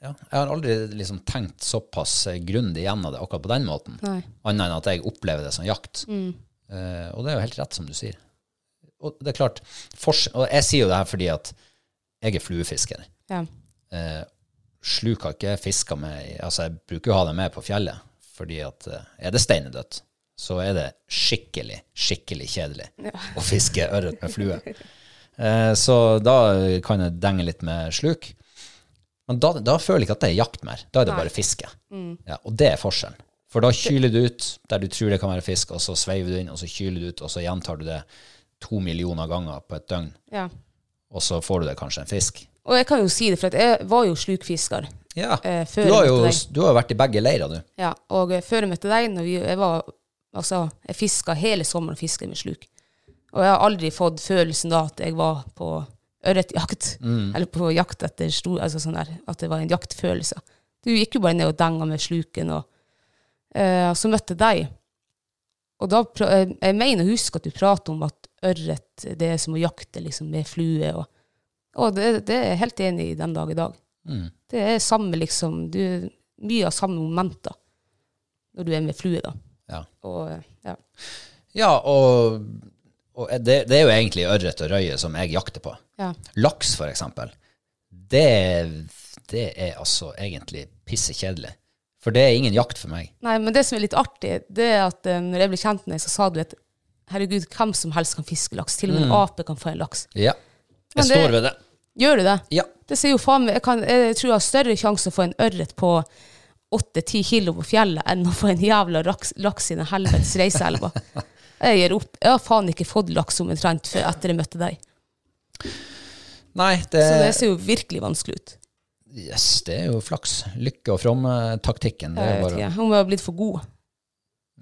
ja, Jeg har aldri liksom tenkt såpass eh, grundig gjennom det akkurat på den måten, Nei. annet enn at jeg opplever det som jakt. Eh, og det er jo helt rett som du sier. Og det er klart, fors- og jeg sier jo det her fordi at jeg er fluefisker. Ja. Eh, sluker ikke fisker med i- Altså, jeg bruker jo å ha dem med på fjellet, fordi at eh, er det steinedødt, så er det skikkelig, skikkelig kjedelig å fiske ørret med flue. Eh, så da kan jeg denge litt med sluk. Men da, da føler jeg ikke at det er jakt mer. Da er det bare fiske. Ja, og det er forskjellen. For da kyler du ut der du tror det kan være fisk, og så sveiver du inn, og så kyler du ut, og så gjentar du det to millioner ganger på et døgn, ja. og så får du det kanskje en fisk. Og jeg kan jo si det, for at jeg var jo slukfisker. Ja. Eh, før Du har jeg jo møtte du har jo vært i begge leirer, du. Ja, og eh, før jeg møtte deg, når vi, jeg var, altså, jeg fisket hele sommeren og fisket med sluk. Og jeg har aldri fått følelsen da at jeg var på ørretjakt, eller på jakt etter stor, altså sånn der, at det var en jaktfølelse. Du gikk jo bare ned og denga med sluken, og eh, så møtte jeg deg. Og da, pra- jeg, jeg mener, å huske at du prater om at ørret, det er som å jakte liksom, med flue, og, og det, det er jeg helt enig i den dag i dag. Mm, Det er samme, liksom, du, mye av samme momenter når du er med flue, da. Ja. Og, ja. Ja, og, og det, det er jo egentlig ørret og røye som jeg jakter på. Ja. Laks, for eksempel, det, det er altså egentlig pissekjedelig. For det er ingen jakt for meg. Nei, men det som er litt artig, det er at eh, når jeg ble kjent med deg, så sa du at herregud, hvem som helst kan fiske laks. Til og med en ape kan få en laks. Ja. Men Jeg det- står ved det. Mm. Gjør du det? Ja. Det sier jo faen meg jeg, kan, jeg tror jeg har større sjanse å få en ørret på 8-10 kilo på fjellet enn å få en jævla raks, laks i den helvetes reiseelva. Jeg gir opp. Jeg har faen ikke fått laks omtrent før etter jeg møtte deg. Nei, det, Så det ser jo virkelig vanskelig ut. yes, det er jo flaks. Lykke og fromme-taktikken. Det Jeg er vet bare ikke. Hun var blitt for god.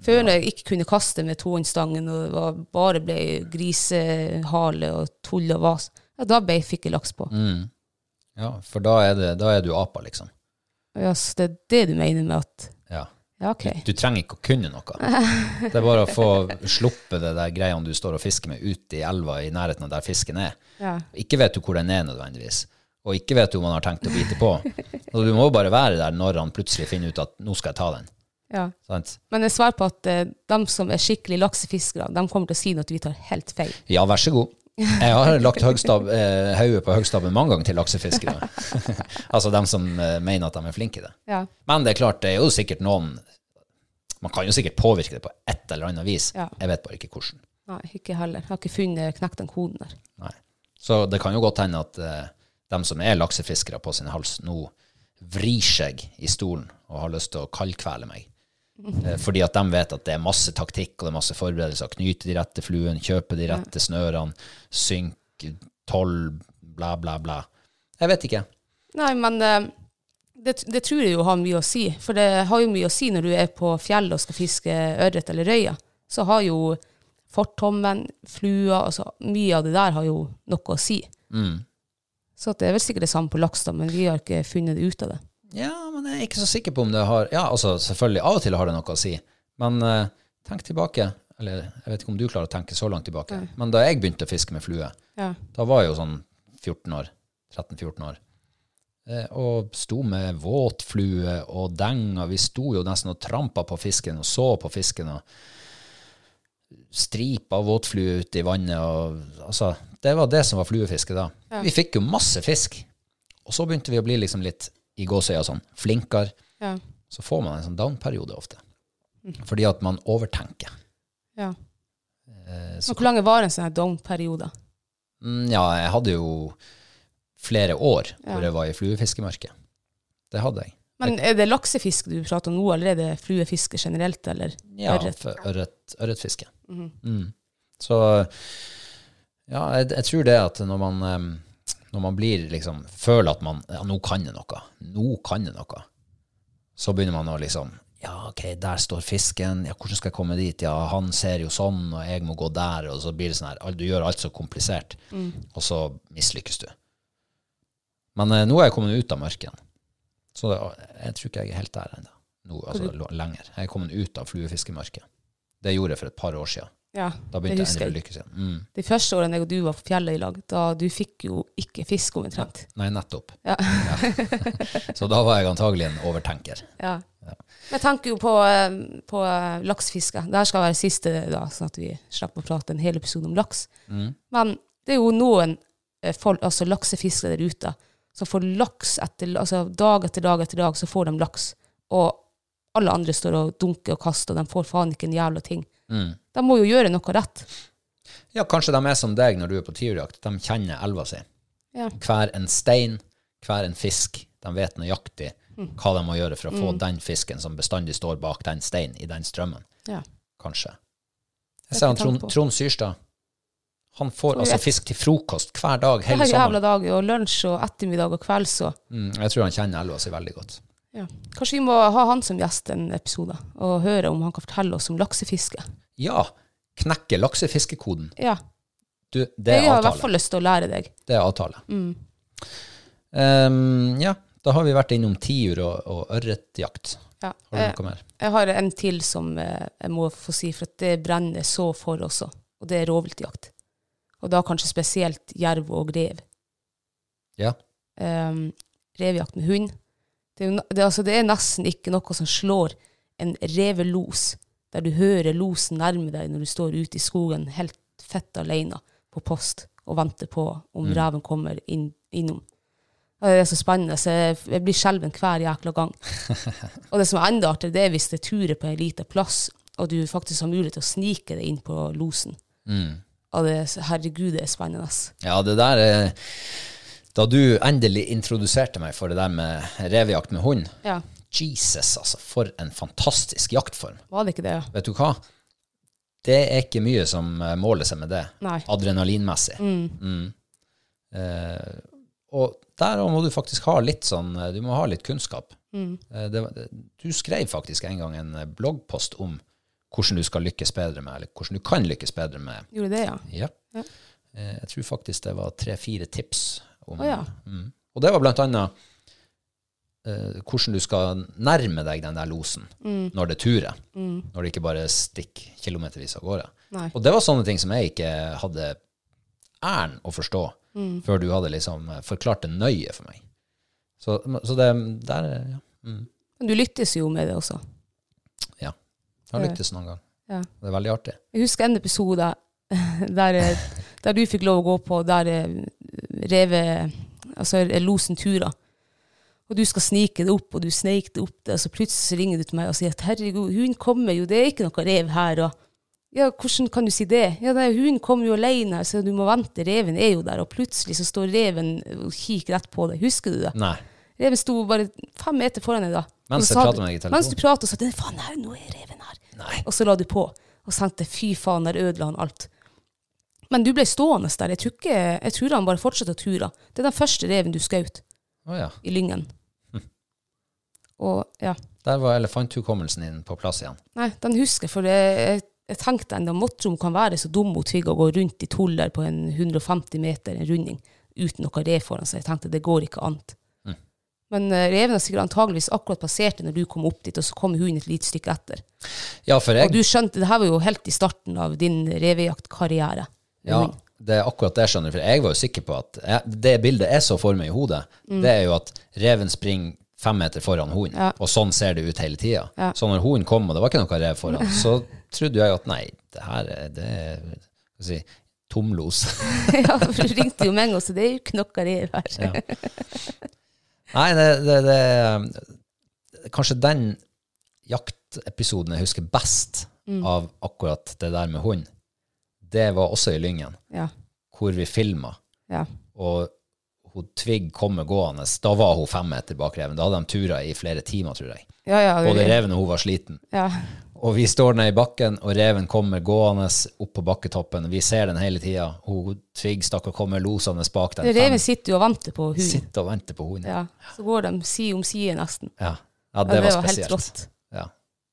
Før når jeg ikke kunne kaste med tohåndsstangen og det var bare ble grisehale og tull og vas, ja, da ble, fikk jeg laks på. mm. Ja, for da er, det, da er du apa, liksom. Ja, så det er det du mener med at Ja. Ja, OK. Du trenger ikke å kunne noe. Det er bare å få sluppe det der greiene du står og fisker med, ut i elva i nærheten av der fisken er. Ja. Ikke vet du hvor den er nødvendigvis, og ikke vet du om han har tenkt å bite på. Altså, du må jo bare være der når han plutselig finner ut at 'nå skal jeg ta den'. ja. Sant? Men jeg svarer på at eh, de som er skikkelig laksefiskere, de kommer til å si noe at vi tar helt feil. Ja, vær så god. Jeg har lagt høgstab- eh, hodet på høgstabben mange ganger til laksefiskere. altså dem som eh, mener at de er flinke i det. Ja. Men det er klart, det er jo sikkert noen Man kan jo sikkert påvirke det på et eller annet vis. Ja. Jeg vet bare ikke hvordan. Nei, ikke heller. Jeg har ikke funnet knekt den koden der. Nei. Så det kan jo godt hende at eh, de som er laksefiskere på sin hals, nå vrir seg i stolen og har lyst til å kaldkvele meg. Eh, fordi at de vet at det er masse taktikk og det er masse forberedelser. Knyte de rette fluene, kjøpe de rette snørene, synk tolv, bla, bla, bla. Jeg vet ikke. Nei, men eh, det, det tror jeg jo har mye å si. For det har jo mye å si når du er på fjellet og skal fiske ørret eller røye. Så har jo fortommen, flua, altså mye av det der har jo noe å si. Mm. Så at det er vel sikkert det samme på laks, da, men vi har ikke funnet ut av det. Ja, men jeg er ikke så sikker på om det har Ja, altså, selvfølgelig, av og til har det noe å si. Men eh, tenk tilbake. Eller jeg vet ikke om du klarer å tenke så langt tilbake. Men da jeg begynte å fiske med flue, Ja. Da var jeg jo sånn 14 år, 13-14 år. Eh, Og sto med våtflue og denga. Vi sto jo nesten og trampa på fisken og så på fisken. og Stripa våtflue ut i vannet. Og, altså, det var det som var fluefiske da. Vi fikk jo masse fisk. Og så begynte vi å bli liksom litt i gåsøya sånn, flinkere. Ja. Så får man en sånn down-periode ofte. Fordi at man overtenker. ja. Eh, Men hvor lang var en sånn her down-periode? Mm, Ja, jeg hadde jo flere år Ja. hvor jeg var i fluefiskemørket. Det hadde jeg. Men er det laksefiske du prater om nå, eller er det fluefiske generelt, eller Ja, ørret? Mhm. for ørret, ørretfiske. Mm. Så ja, jeg, jeg tror det at når man, em, når man blir liksom Føler at man ja, nå kan jeg noe. Nå kan jeg noe. Så begynner man å liksom Ja, OK, der står fisken. Ja, hvordan skal jeg komme dit? Ja, han ser jo sånn, og jeg må gå der. Og så blir det sånn her Du gjør alt så komplisert, Mm. og så mislykkes du. Men eh, nå er jeg kommet ut av mørket igjen. Så det, jeg tror ikke jeg er helt der ennå. Nå, altså, lo- lenger. Jeg er kommet ut av fluefiskemørket. Det gjorde jeg for et par år siden. Ja, Da det begynte jeg husker endelig å jeg. lykkes igjen. Mm. De første årene jeg og du var på fjellet i lag, da du fikk jo ikke fisk omtrent. Nei, nettopp. Ja. Så da var jeg antagelig en overtenker. Ja. Men jeg tenker jo på, eh, på eh, laksefiske. Det her skal være siste, da, sånn at vi slipper å prate en hel episode om laks. Men det er jo noen eh, folk, altså laksefiskere der ute som får laks etter, altså dag etter dag etter dag, så får de laks. Og alle andre står og dunker og kaster, og de får faen ikke en jævla ting. Mm. De må jo gjøre noe rett. Ja, kanskje de er som deg når du er på tiurjakt. De kjenner elva si. Ja. Hver en stein, hver en fisk. De vet nøyaktig Mm. hva de må gjøre for å få den fisken som bestandig står bak den steinen, i den strømmen. Ja. Kanskje. Det Jeg er ser han ikke Trond, tanke på. Trond Syrstad. Han får Tror altså jeg- fisk til frokost hver dag hele Hver jævla sommeren. dag, og lunsj og ettermiddag og kvelds og Mm, jeg tror han kjenner elva si veldig godt. ja. Kanskje vi må ha han som gjest en episode, og høre om han kan fortelle oss om laksefiske. Ja, knekke laksefiskekoden. Ja. Du, det Jeg er har i hvert avtale. fall Mm. lyst til å lære deg. Det er avtale. Ehm, ja, da har vi vært innom tiur og, og ørretjakt. Ja. Har du Eh, noe mer? Jeg har en til som eh, jeg må få si, for at det brenner jeg så for også, og det er rovviltjakt. Og da kanskje spesielt jerv og rev. Ja. Ehm, revjakt med hund. Det er, jo, n- det, er altså, det er nesten ikke noe som slår en revelos, der du hører losen nærme deg når du står ute i skogen helt fett alene på post og venter på om reven kommer inn, innom. Ja, Det er så spennende, så jeg, jeg blir skjelven hver jækla gang. Og det som er enda artigere, det er hvis det turer på en liten plass, og du faktisk har mulighet til å snike deg inn på losen. Og det, er så- herregud, det er spennende. ass. Ja, det der eh, Da du endelig introduserte meg for det der med revejakt med hund Ja, Jesus, altså, for en fantastisk jaktform. var det ikke det? ja? Vet du hva? Det er ikke mye som eh, måler seg med det, Nei. adrenalinmessig. Mm. Eh, og der også må du faktisk ha litt sånn eh, Du må ha litt kunnskap. Mm. Eh, det, var- det- du skrev faktisk en gang en eh, bloggpost om hvordan du skal lykkes bedre med, eller hvordan du kan lykkes bedre med Gjorde det, ja. Ja. Eh, Jeg tror faktisk det var tre-fire tips. Om, Å ja. mm. Og det var blant annet eh, hvordan du skal nærme deg den der losen Mm. når det turer. Når det ikke bare stikker kilometervis av gårde. Nei. Og det var sånne ting som jeg ikke hadde æren å forstå Mm. før du hadde liksom eh, forklart det nøye for meg. Så, så det der eh, ja. Mm. Men du lyttes jo med det også. ja. Jeg har lyktes noen gang. Ja. Det er veldig artig. Jeg husker en episode der, eh, der du fikk lov å gå på, der eh, reve, altså eh, losen turer. Og du skal snike det opp, og du sneik det opp, og så plutselig så ringer du til meg og sier at herregud, hun kommer jo, det er ikke noe rev her. Og, ja, hvordan kan du si det? Ja, nei, hun kommer jo alene, så du må vente, reven er jo der. Og plutselig så står reven og kikker rett på deg, husker du det? Nei. Reven sto bare fem meter foran deg da. Mens Og så jeg sa pratet du- med deg i telefonen. Mens du pratet, så sa du, faen, her, nå er reven her. Nei. Og så la du på, og så tenkte, jeg, fy faen, der ødela han alt. Men du ble stående der. Jeg tror, ikke, jeg tror han bare fortsatte å ture. Det er den første reven du skaut Å ja. i Lyngen. Og ja, Der var elefanthukommelsen din på plass igjen. nei, den husker jeg, for jeg, jeg, jeg tenkte enda, måtte hun kan være så dum hun tvigger å gå rundt i toller på en 150 meter, en runding, uten noe rev foran seg. Jeg tenkte, det går ikke annet. Mm. Men eh, reven har sikkert antageligvis akkurat passert det når du kom opp dit, og så kom hun et lite stykke etter. Ja, for Og jeg du skjønte, det her var jo helt i starten av din revejaktkarriere. Ja, Mm. det er akkurat det, skjønner du. For jeg var jo sikker på at jeg, det bildet jeg så for meg i hodet, det er jo at reven springer fem meter foran hunden, Mm. Ja. og sånn ser det ut hele tida. Ja. Så når hunden kom, og det var ikke noe rev foran, så trodde jeg at nei, det her er, det er hva skal jeg si, tomlos. ja, for du ringte jo meg, og så det er jo ikke noe rev her. Ja. nei, det, det, det Kanskje den jaktepisoden jeg husker best Mm. av akkurat det der med hund, det var også i Lyngen, Ja. hvor vi filma. Ja. og hun Tvigg kommer gående. Da var hun fem meter bak reven. Da hadde de tura i flere timer, tror jeg. Ja, ja, Både reven og hun var sliten. ja. Og vi står nede i bakken, og reven kommer gående opp på bakketoppen. Vi ser den hele tida. Hun Tvigg stakkar kommer losende bak den. Reven sitter jo og venter på Fem- hunden. sitter og venter på hunden. Ja. Ja. Så går de side om side, nesten. Ja. det, Ja, var helt spesielt. rått. Ja.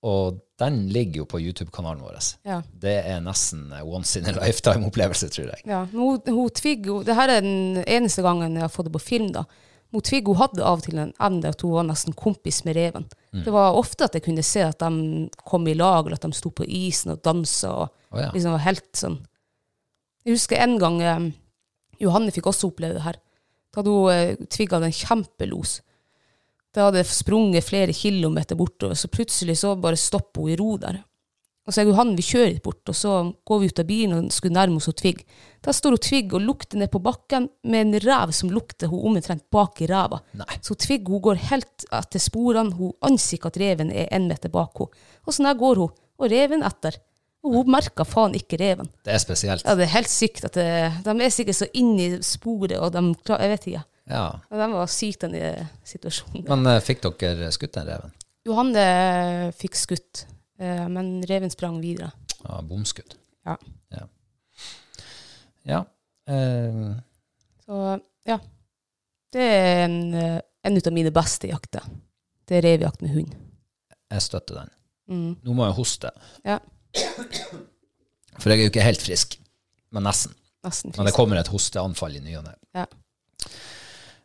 Og den ligger jo på YouTube-kanalen vår. Ja. Det er nesten eh, once in a lifetime-opplevelse, tror jeg. Ja, men hun, hun Tvigg, hun, det her er den eneste gangen jeg har fått det på film da. Hun Tvigg hun hadde av og til en evne at hun var nesten kompis med reven. Mm. Det var ofte at jeg kunne se at de kom i lag, eller at de sto på isen og dansa. Og Å ja. liksom var helt sånn. Jeg husker en gang eh, Johanne fikk også oppleve det her. Da hadde hun eh, Tvigg hadde en kjempelos. Det hadde sprunget flere kilometer bortover, så plutselig så bare stopper hun i ro der. Og så er det jo han vi kjører bort, og så går vi ut av bilen og skulle nærme oss hun Tvigg. Da står hun Tvigg og lukter ned på bakken med en rev som lukter hun omtrent bak i ræva. Nei. Så Tvigg hun går helt etter sporene, hun anser ikke at reven er en meter bak henne. Og sånn her går hun, og reven etter. Og hun merker faen ikke reven. Det er spesielt. Ja, det er helt sykt at det, de er sikkert så inne i sporet, og de klar, jeg vet ikke. Ja. Og de var sykt den i situasjonen. Men eh, fikk dere skutt den reven? Johanne eh, fikk skutt, eh, men reven sprang videre. Ja, bomskudd. Ja. Ja. ja. eh, Så ja, det er en, eh, en ut av mine beste jakter. Det er revjakt med hund. jeg støtter den. Mm. Nå må jeg hoste, Ja, for jeg er jo ikke helt frisk. Men nesten. nesten Men det frisk. kommer et hosteanfall i ny og ne. Ja.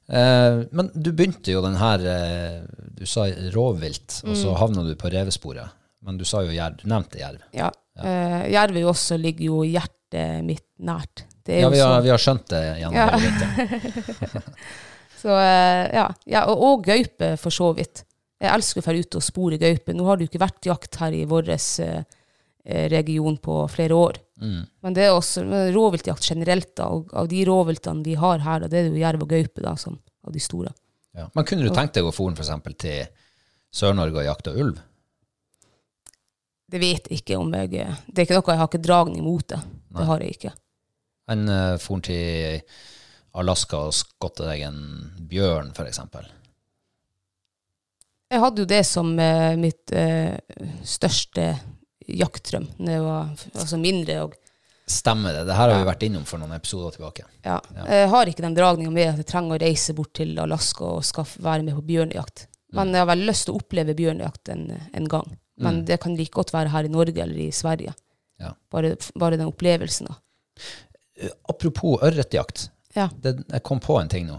Eh, men du begynte jo den her eh, Du sa rovvilt, og Mm. så havna du på revesporet. Men du sa jo jerv. Du nevnte jerv. Ja. Eh, jerv er jo også, ligger jo hjertet mitt nært. Det er Ja, jo vi har, så- vi har skjønt det gjennom Ja. hele vinteren. Så eh, ja, ja og, og gaupe for så vidt. Jeg elsker å dra ut og spore gaupe. Nå har det jo ikke vært jakt her i vår eh, region på flere år. Mm. Men det er også men rovviltjakt generelt. da, og Av de rovviltene vi har her, da, det er jo jerv og gaupe da, som, av de store. Ja. Men kunne du tenkt deg å for f.eks. til Sør-Norge og jakte ulv? Det vet jeg ikke om jeg eh, Det er ikke noe jeg har ikke dragning mot det. Det har jeg ikke. Enn uh, for til Alaska og skotte deg en bjørn, f.eks.? Jeg hadde jo det som eh, mitt eh, største jaktdrøm da jeg var f- altså mindre. og Stemmer det. Det her har vi vært innom for noen episoder tilbake. Ja. Jeg har ikke den dragninga med at jeg trenger å reise bort til Alaska og skal f- være med på bjørnejakt. Men jeg har vel lyst til å oppleve bjørnejakt en, en gang. Men det kan like godt være her i Norge eller i Sverige. Ja. Bare, bare den opplevelsen, da. Apropos ørretjakt. Ja. det, jeg kom på en ting nå.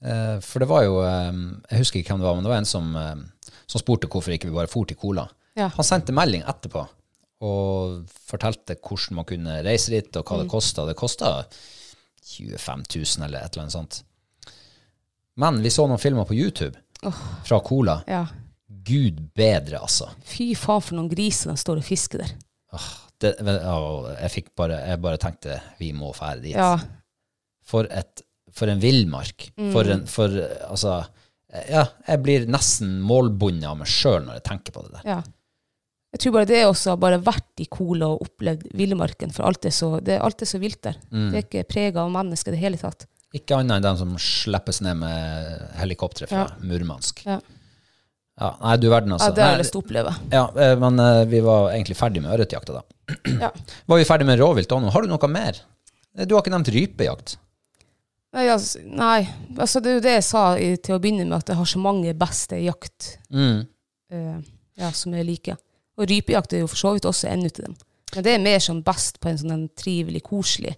Eh, for det var jo eh, Jeg husker ikke hvem det var, men det var en som, eh, som spurte hvorfor ikke vi bare for til Kola. Ja. Han sendte melding etterpå og fortalte hvordan man kunne reise dit, og hva det kosta. Det kosta 25 000 eller et eller annet sånt. Men vi så noen filmer på YouTube fra Cola. Ja. Gud bedre, altså. Fy faen for noen griser de står og fisker der. Det, ja, jeg, fikk bare, jeg bare tenkte vi må fære dit. Ja. Mm. for, et, for en villmark. For en for, eh, Altså Ja, jeg blir nesten målbundet av meg sjøl når jeg tenker på det der. ja. Jeg tror bare det også har bare vært i Kola og opplevd villmarken, for alt er så, det, alt er så vilt der. Det er ikke prega av mennesker i det hele tatt. Mm. Ikke annet enn dem som slippes ned med helikoptre fra Ja. Murmansk. Ja. Ja, nei, du verden, Ja, altså. det har Nei, jeg lyst til å oppleve. ja, eh, men eh, vi var egentlig ferdig med ørretjakta, da. Ja. Var vi ferdig med rovvilt òg nå? Har du noe mer? Eh, Du har ikke nevnt rypejakt. Nei, altså, nei. Altså, det er jo det jeg sa i, til å begynne med, at jeg har så mange beste jakt Mm. eh, ja, som jeg liker. Og rypejakt er jo for så vidt også en ut av dem. Men det er mer sånn best på en sånn en trivelig, koselig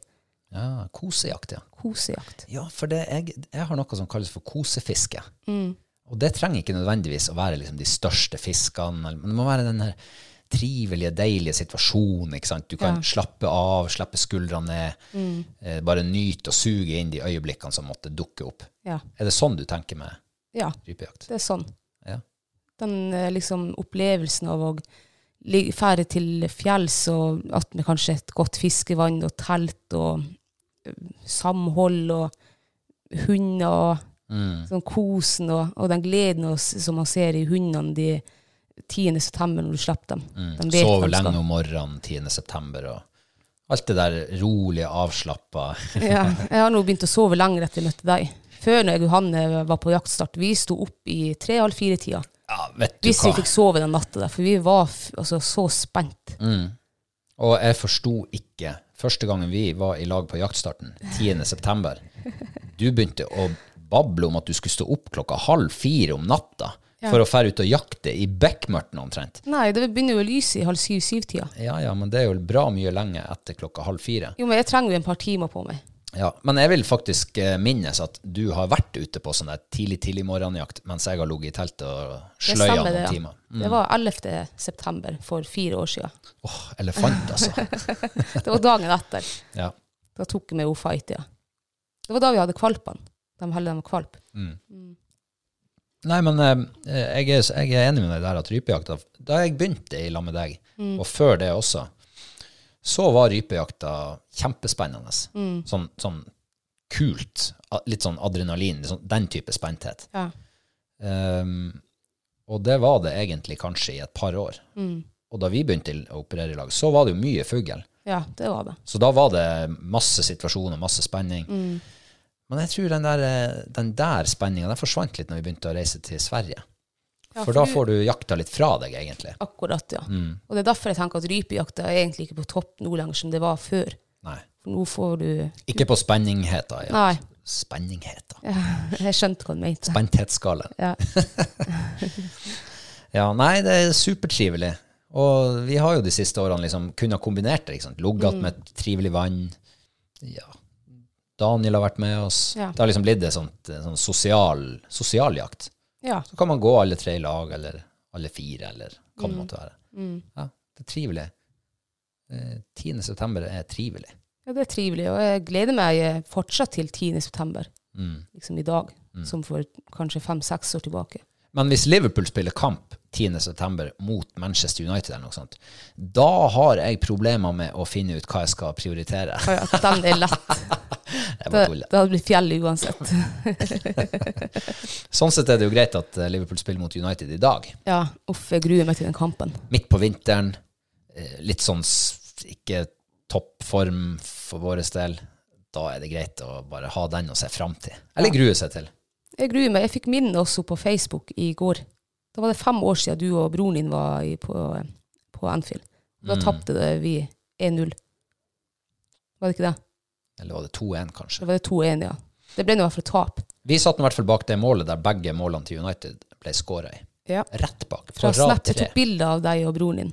Ja, kosejakt, ja. kosejakt. Ja, for det, jeg, jeg har noe som kalles for kosefiske. Mm. Og det trenger ikke nødvendigvis å være liksom de største fiskene, eller- men det må være den her trivelige, deilige situasjonen. ikke sant? Du kan Ja. Mm. slappe av, slippe skuldrene ned, eh, bare nyte og suge inn de øyeblikkene som måtte dukke opp. Ja. Er det sånn du tenker med ja, rypejakt? det er sånn. Ja. Den eh, liksom opplevelsen av å lig- fære til fjells og at med kanskje et godt fiskevann og telt og eh, samhold og hunder og Mm. sånn kosen og, og den gleden og, s- som man ser i hundene de 10. september når du slipper dem. De vet Sove de skal- Mm. lenge om morgenen 10. september og alt det der rolige, avslappa ja, jeg har nå begynt å sove lenger etter jeg møtte deg. Før når jeg og Johanne var på jaktstart, vi sto opp i tre-halv fire-tida. Ja, vet du Hvis vi hva. fikk sove den natta der, for vi var f altså, så spent. Og jeg forsto ikke første gangen vi var i lag på jaktstarten, 10. september. Du begynte å bable om at du skulle stå opp klokka halv fire om natta for å fære ut og jakte i bekmørten omtrent. Nei, det begynner jo å lyse i halv syv-syv-tida. Ja, ja, men det er jo bra mye lenge etter klokka halv fire. Jo, men jeg trenger jo en par timer på meg. Ja, men jeg vil faktisk eh, minnes at du har vært ute på sånn der tidlig, tidlig morgenjakt mens jeg har ligget i teltet og Det sløya stemmer noen det, ja. timer. Det var 11. september for fire år siden. Åh, elefant altså. Det var dagen etter. Ja. Da tok jeg med henne fight, ja. Det var da vi hadde kvalpene. De holder dem med kvalp. Mm. Nei, men eh, jeg, er, jeg er enig med deg der at rypejakta Da jeg begynte i lag med deg, og før det også, så var rypejakta kjempespennende. Sånn, sånn kult. a- Litt sånn adrenalin. litt sånn- den type spenthet. Ja. Ehm, og det var det egentlig kanskje i et par år. Og da vi begynte i- å operere i lag, så var det jo mye fugl. ja, det var det. Så da var det masse situasjoner, masse spenning. Men jeg tror den der, eh, den der spenninga den forsvant litt når vi begynte å reise til Sverige. Ja, for da får du jakta litt fra deg, egentlig. Akkurat, ja. Og det er derfor jeg tenker at rypejakta er egentlig ikke på topp nå lenger som det var før. Nei. For nå får du Ikke på spenningheta. Ja. Nei, Spenningheta. jeg skjønte hva du mente. Spenthetsskalaen. Ja. Ja, nei, det er supertrivelig. Og vi har jo de siste årene liksom kunnet kombinert det. ikke sant? Ligget med et trivelig vann. Ja. Daniel har vært med oss. Ja. Det har liksom blitt en sånn sånn sosial, sosial jakt. ja. Så kan man gå alle tre i lag, eller alle fire, eller hva det måtte være. Ja, det er trivelig. Eh, 10. september er trivelig. Ja, det er trivelig, og jeg gleder meg eh, fortsatt til 10. september, Mm. liksom i dag, som for kanskje fem-seks år tilbake. Men hvis Liverpool spiller kamp 10. september mot Manchester United, eller noe sånt, da har jeg problemer med å finne ut hva jeg skal prioritere. Ja, ja, den er lett. Jeg Det, bare tuller. det hadde blitt fjell uansett. Sånn sett er det jo greit at eh, Liverpool spiller mot United i dag. Ja, uff, jeg gruer meg til den kampen. Midt på vinteren. eh, Litt sånn s- ikke toppform for vår del. Da er det greit å bare ha den å se fram til. Eller grue seg til. Jeg gruer meg. Jeg fikk minne også på Facebook i går. Da var det fem år siden du og broren din var i, på, på Anfield. Da Mm. tapte det vi 1-0. Var det ikke det? Eller var det 2-1, kanskje? Da var det 2-1, ja. Det ble nå i hvert fall tap. Vi satt nå i hvert fall bak det målet der begge målene til United ble skåra i. Ja. Rett bak. På Fra rad Snap. Jeg tre. tok bilde av deg og broren din.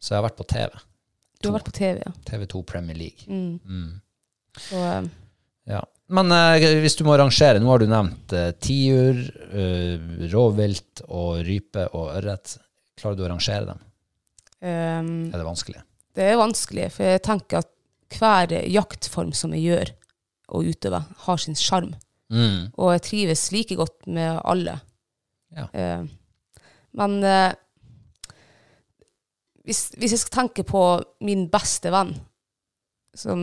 Så jeg har vært på TV. Du har vært på TV, ja. Mm. TV2 Premier League. Mm. Så, eh, Ja. Men eh, hvis du må rangere, nå har du nevnt eh, tiur, eh, rovvilt og rype og ørret. Klarer du å rangere dem? ehm, Er det vanskelig? det er vanskelig, for jeg tenker at hver jaktform som jeg gjør og utøver, har sin sjarm. Mm. Og jeg trives like godt med alle. Ja. Eh, men eh, hvis, hvis jeg skal tenke på min beste venn, som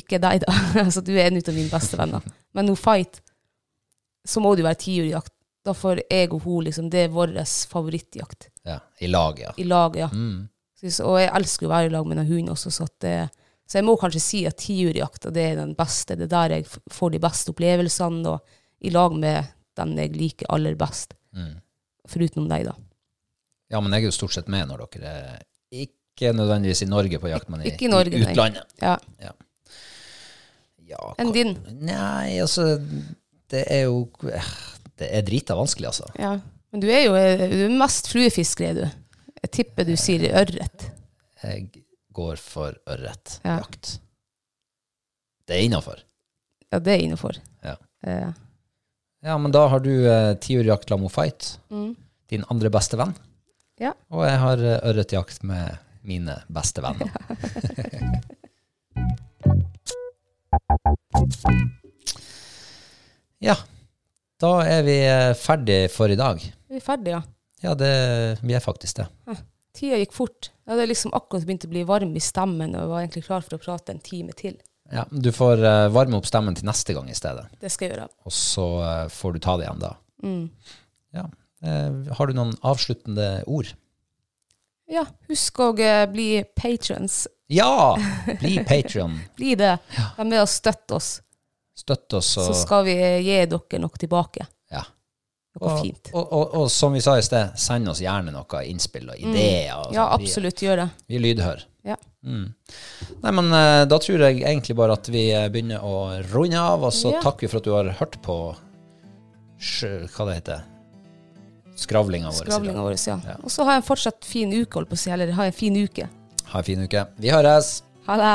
ikke er deg, da, altså du er en av mine beste venner, men hun fight, så må det jo være tiurjakt. Da får jeg og hun liksom, det er vår favorittjakt Ja. I lag, ja. i lag, ja. Mm. Så- Og jeg elsker jo å være i lag med den hunden også, så, at det, så jeg må kanskje si at tiurjakta det er den beste. Det er der jeg f- får de beste opplevelsene, og i lag med den jeg liker aller best. Foruten deg, da. Mm. ja, men jeg er jo stort sett med når dere er ikke nødvendigvis i Norge på jakt, men i, Ikke i Norge, nei. utlandet. Ja. Ja. Ja, Enn hva- din? Nei, altså Det er jo eh, Det er drita vanskelig, altså. Ja. Men du er jo eh, du er mest fluefisker, er du. Jeg tipper du sier ørret. Jeg går for ørretjakt. Ja. jakt. Det er innafor. Ja, det er innafor. Ja. Eh, ja, men da har du eh, tiurjakt Lamo Fight, Mm. din andre beste venn. Ja. Og jeg har eh, ørretjakt med mine beste venner. ja. Da er vi eh, ferdig for i dag. er vi ferdige, ja? Ja, det, vi er faktisk det. Tida gikk fort. Jeg hadde liksom akkurat begynt å bli varm i stemmen og var egentlig klar for å prate en time til. Ja, du får eh, varme opp stemmen til neste gang i stedet, Det skal jeg gjøre. og så eh, får du ta det igjen da. Mm. Ja. Eh, har du noen avsluttende ord? Ja, husk å eh, bli patrons. Ja! Bli Patreon. Bli det. Vær med og støtt oss, Støtt oss. så Og, skal vi gi dere noe tilbake. ja. Noe og, fint. Og, og, og som vi sa i sted, send oss gjerne noe innspill og ideer. og Mm. Ja, sånn. absolutt. Gjør det. Vi, vi lydhør. Ja. Nei, men eh, da tror jeg egentlig bare at vi eh, begynner å runde av, og så Ja. takker vi for at du har hørt på sj- hva det heter, skravlinga vår. Skravlinga vår, ja. Og så ha en fortsatt fin uke, holdt på å si. Eller ha en fin uke. Ha en fin uke. Vi høres! Ha det.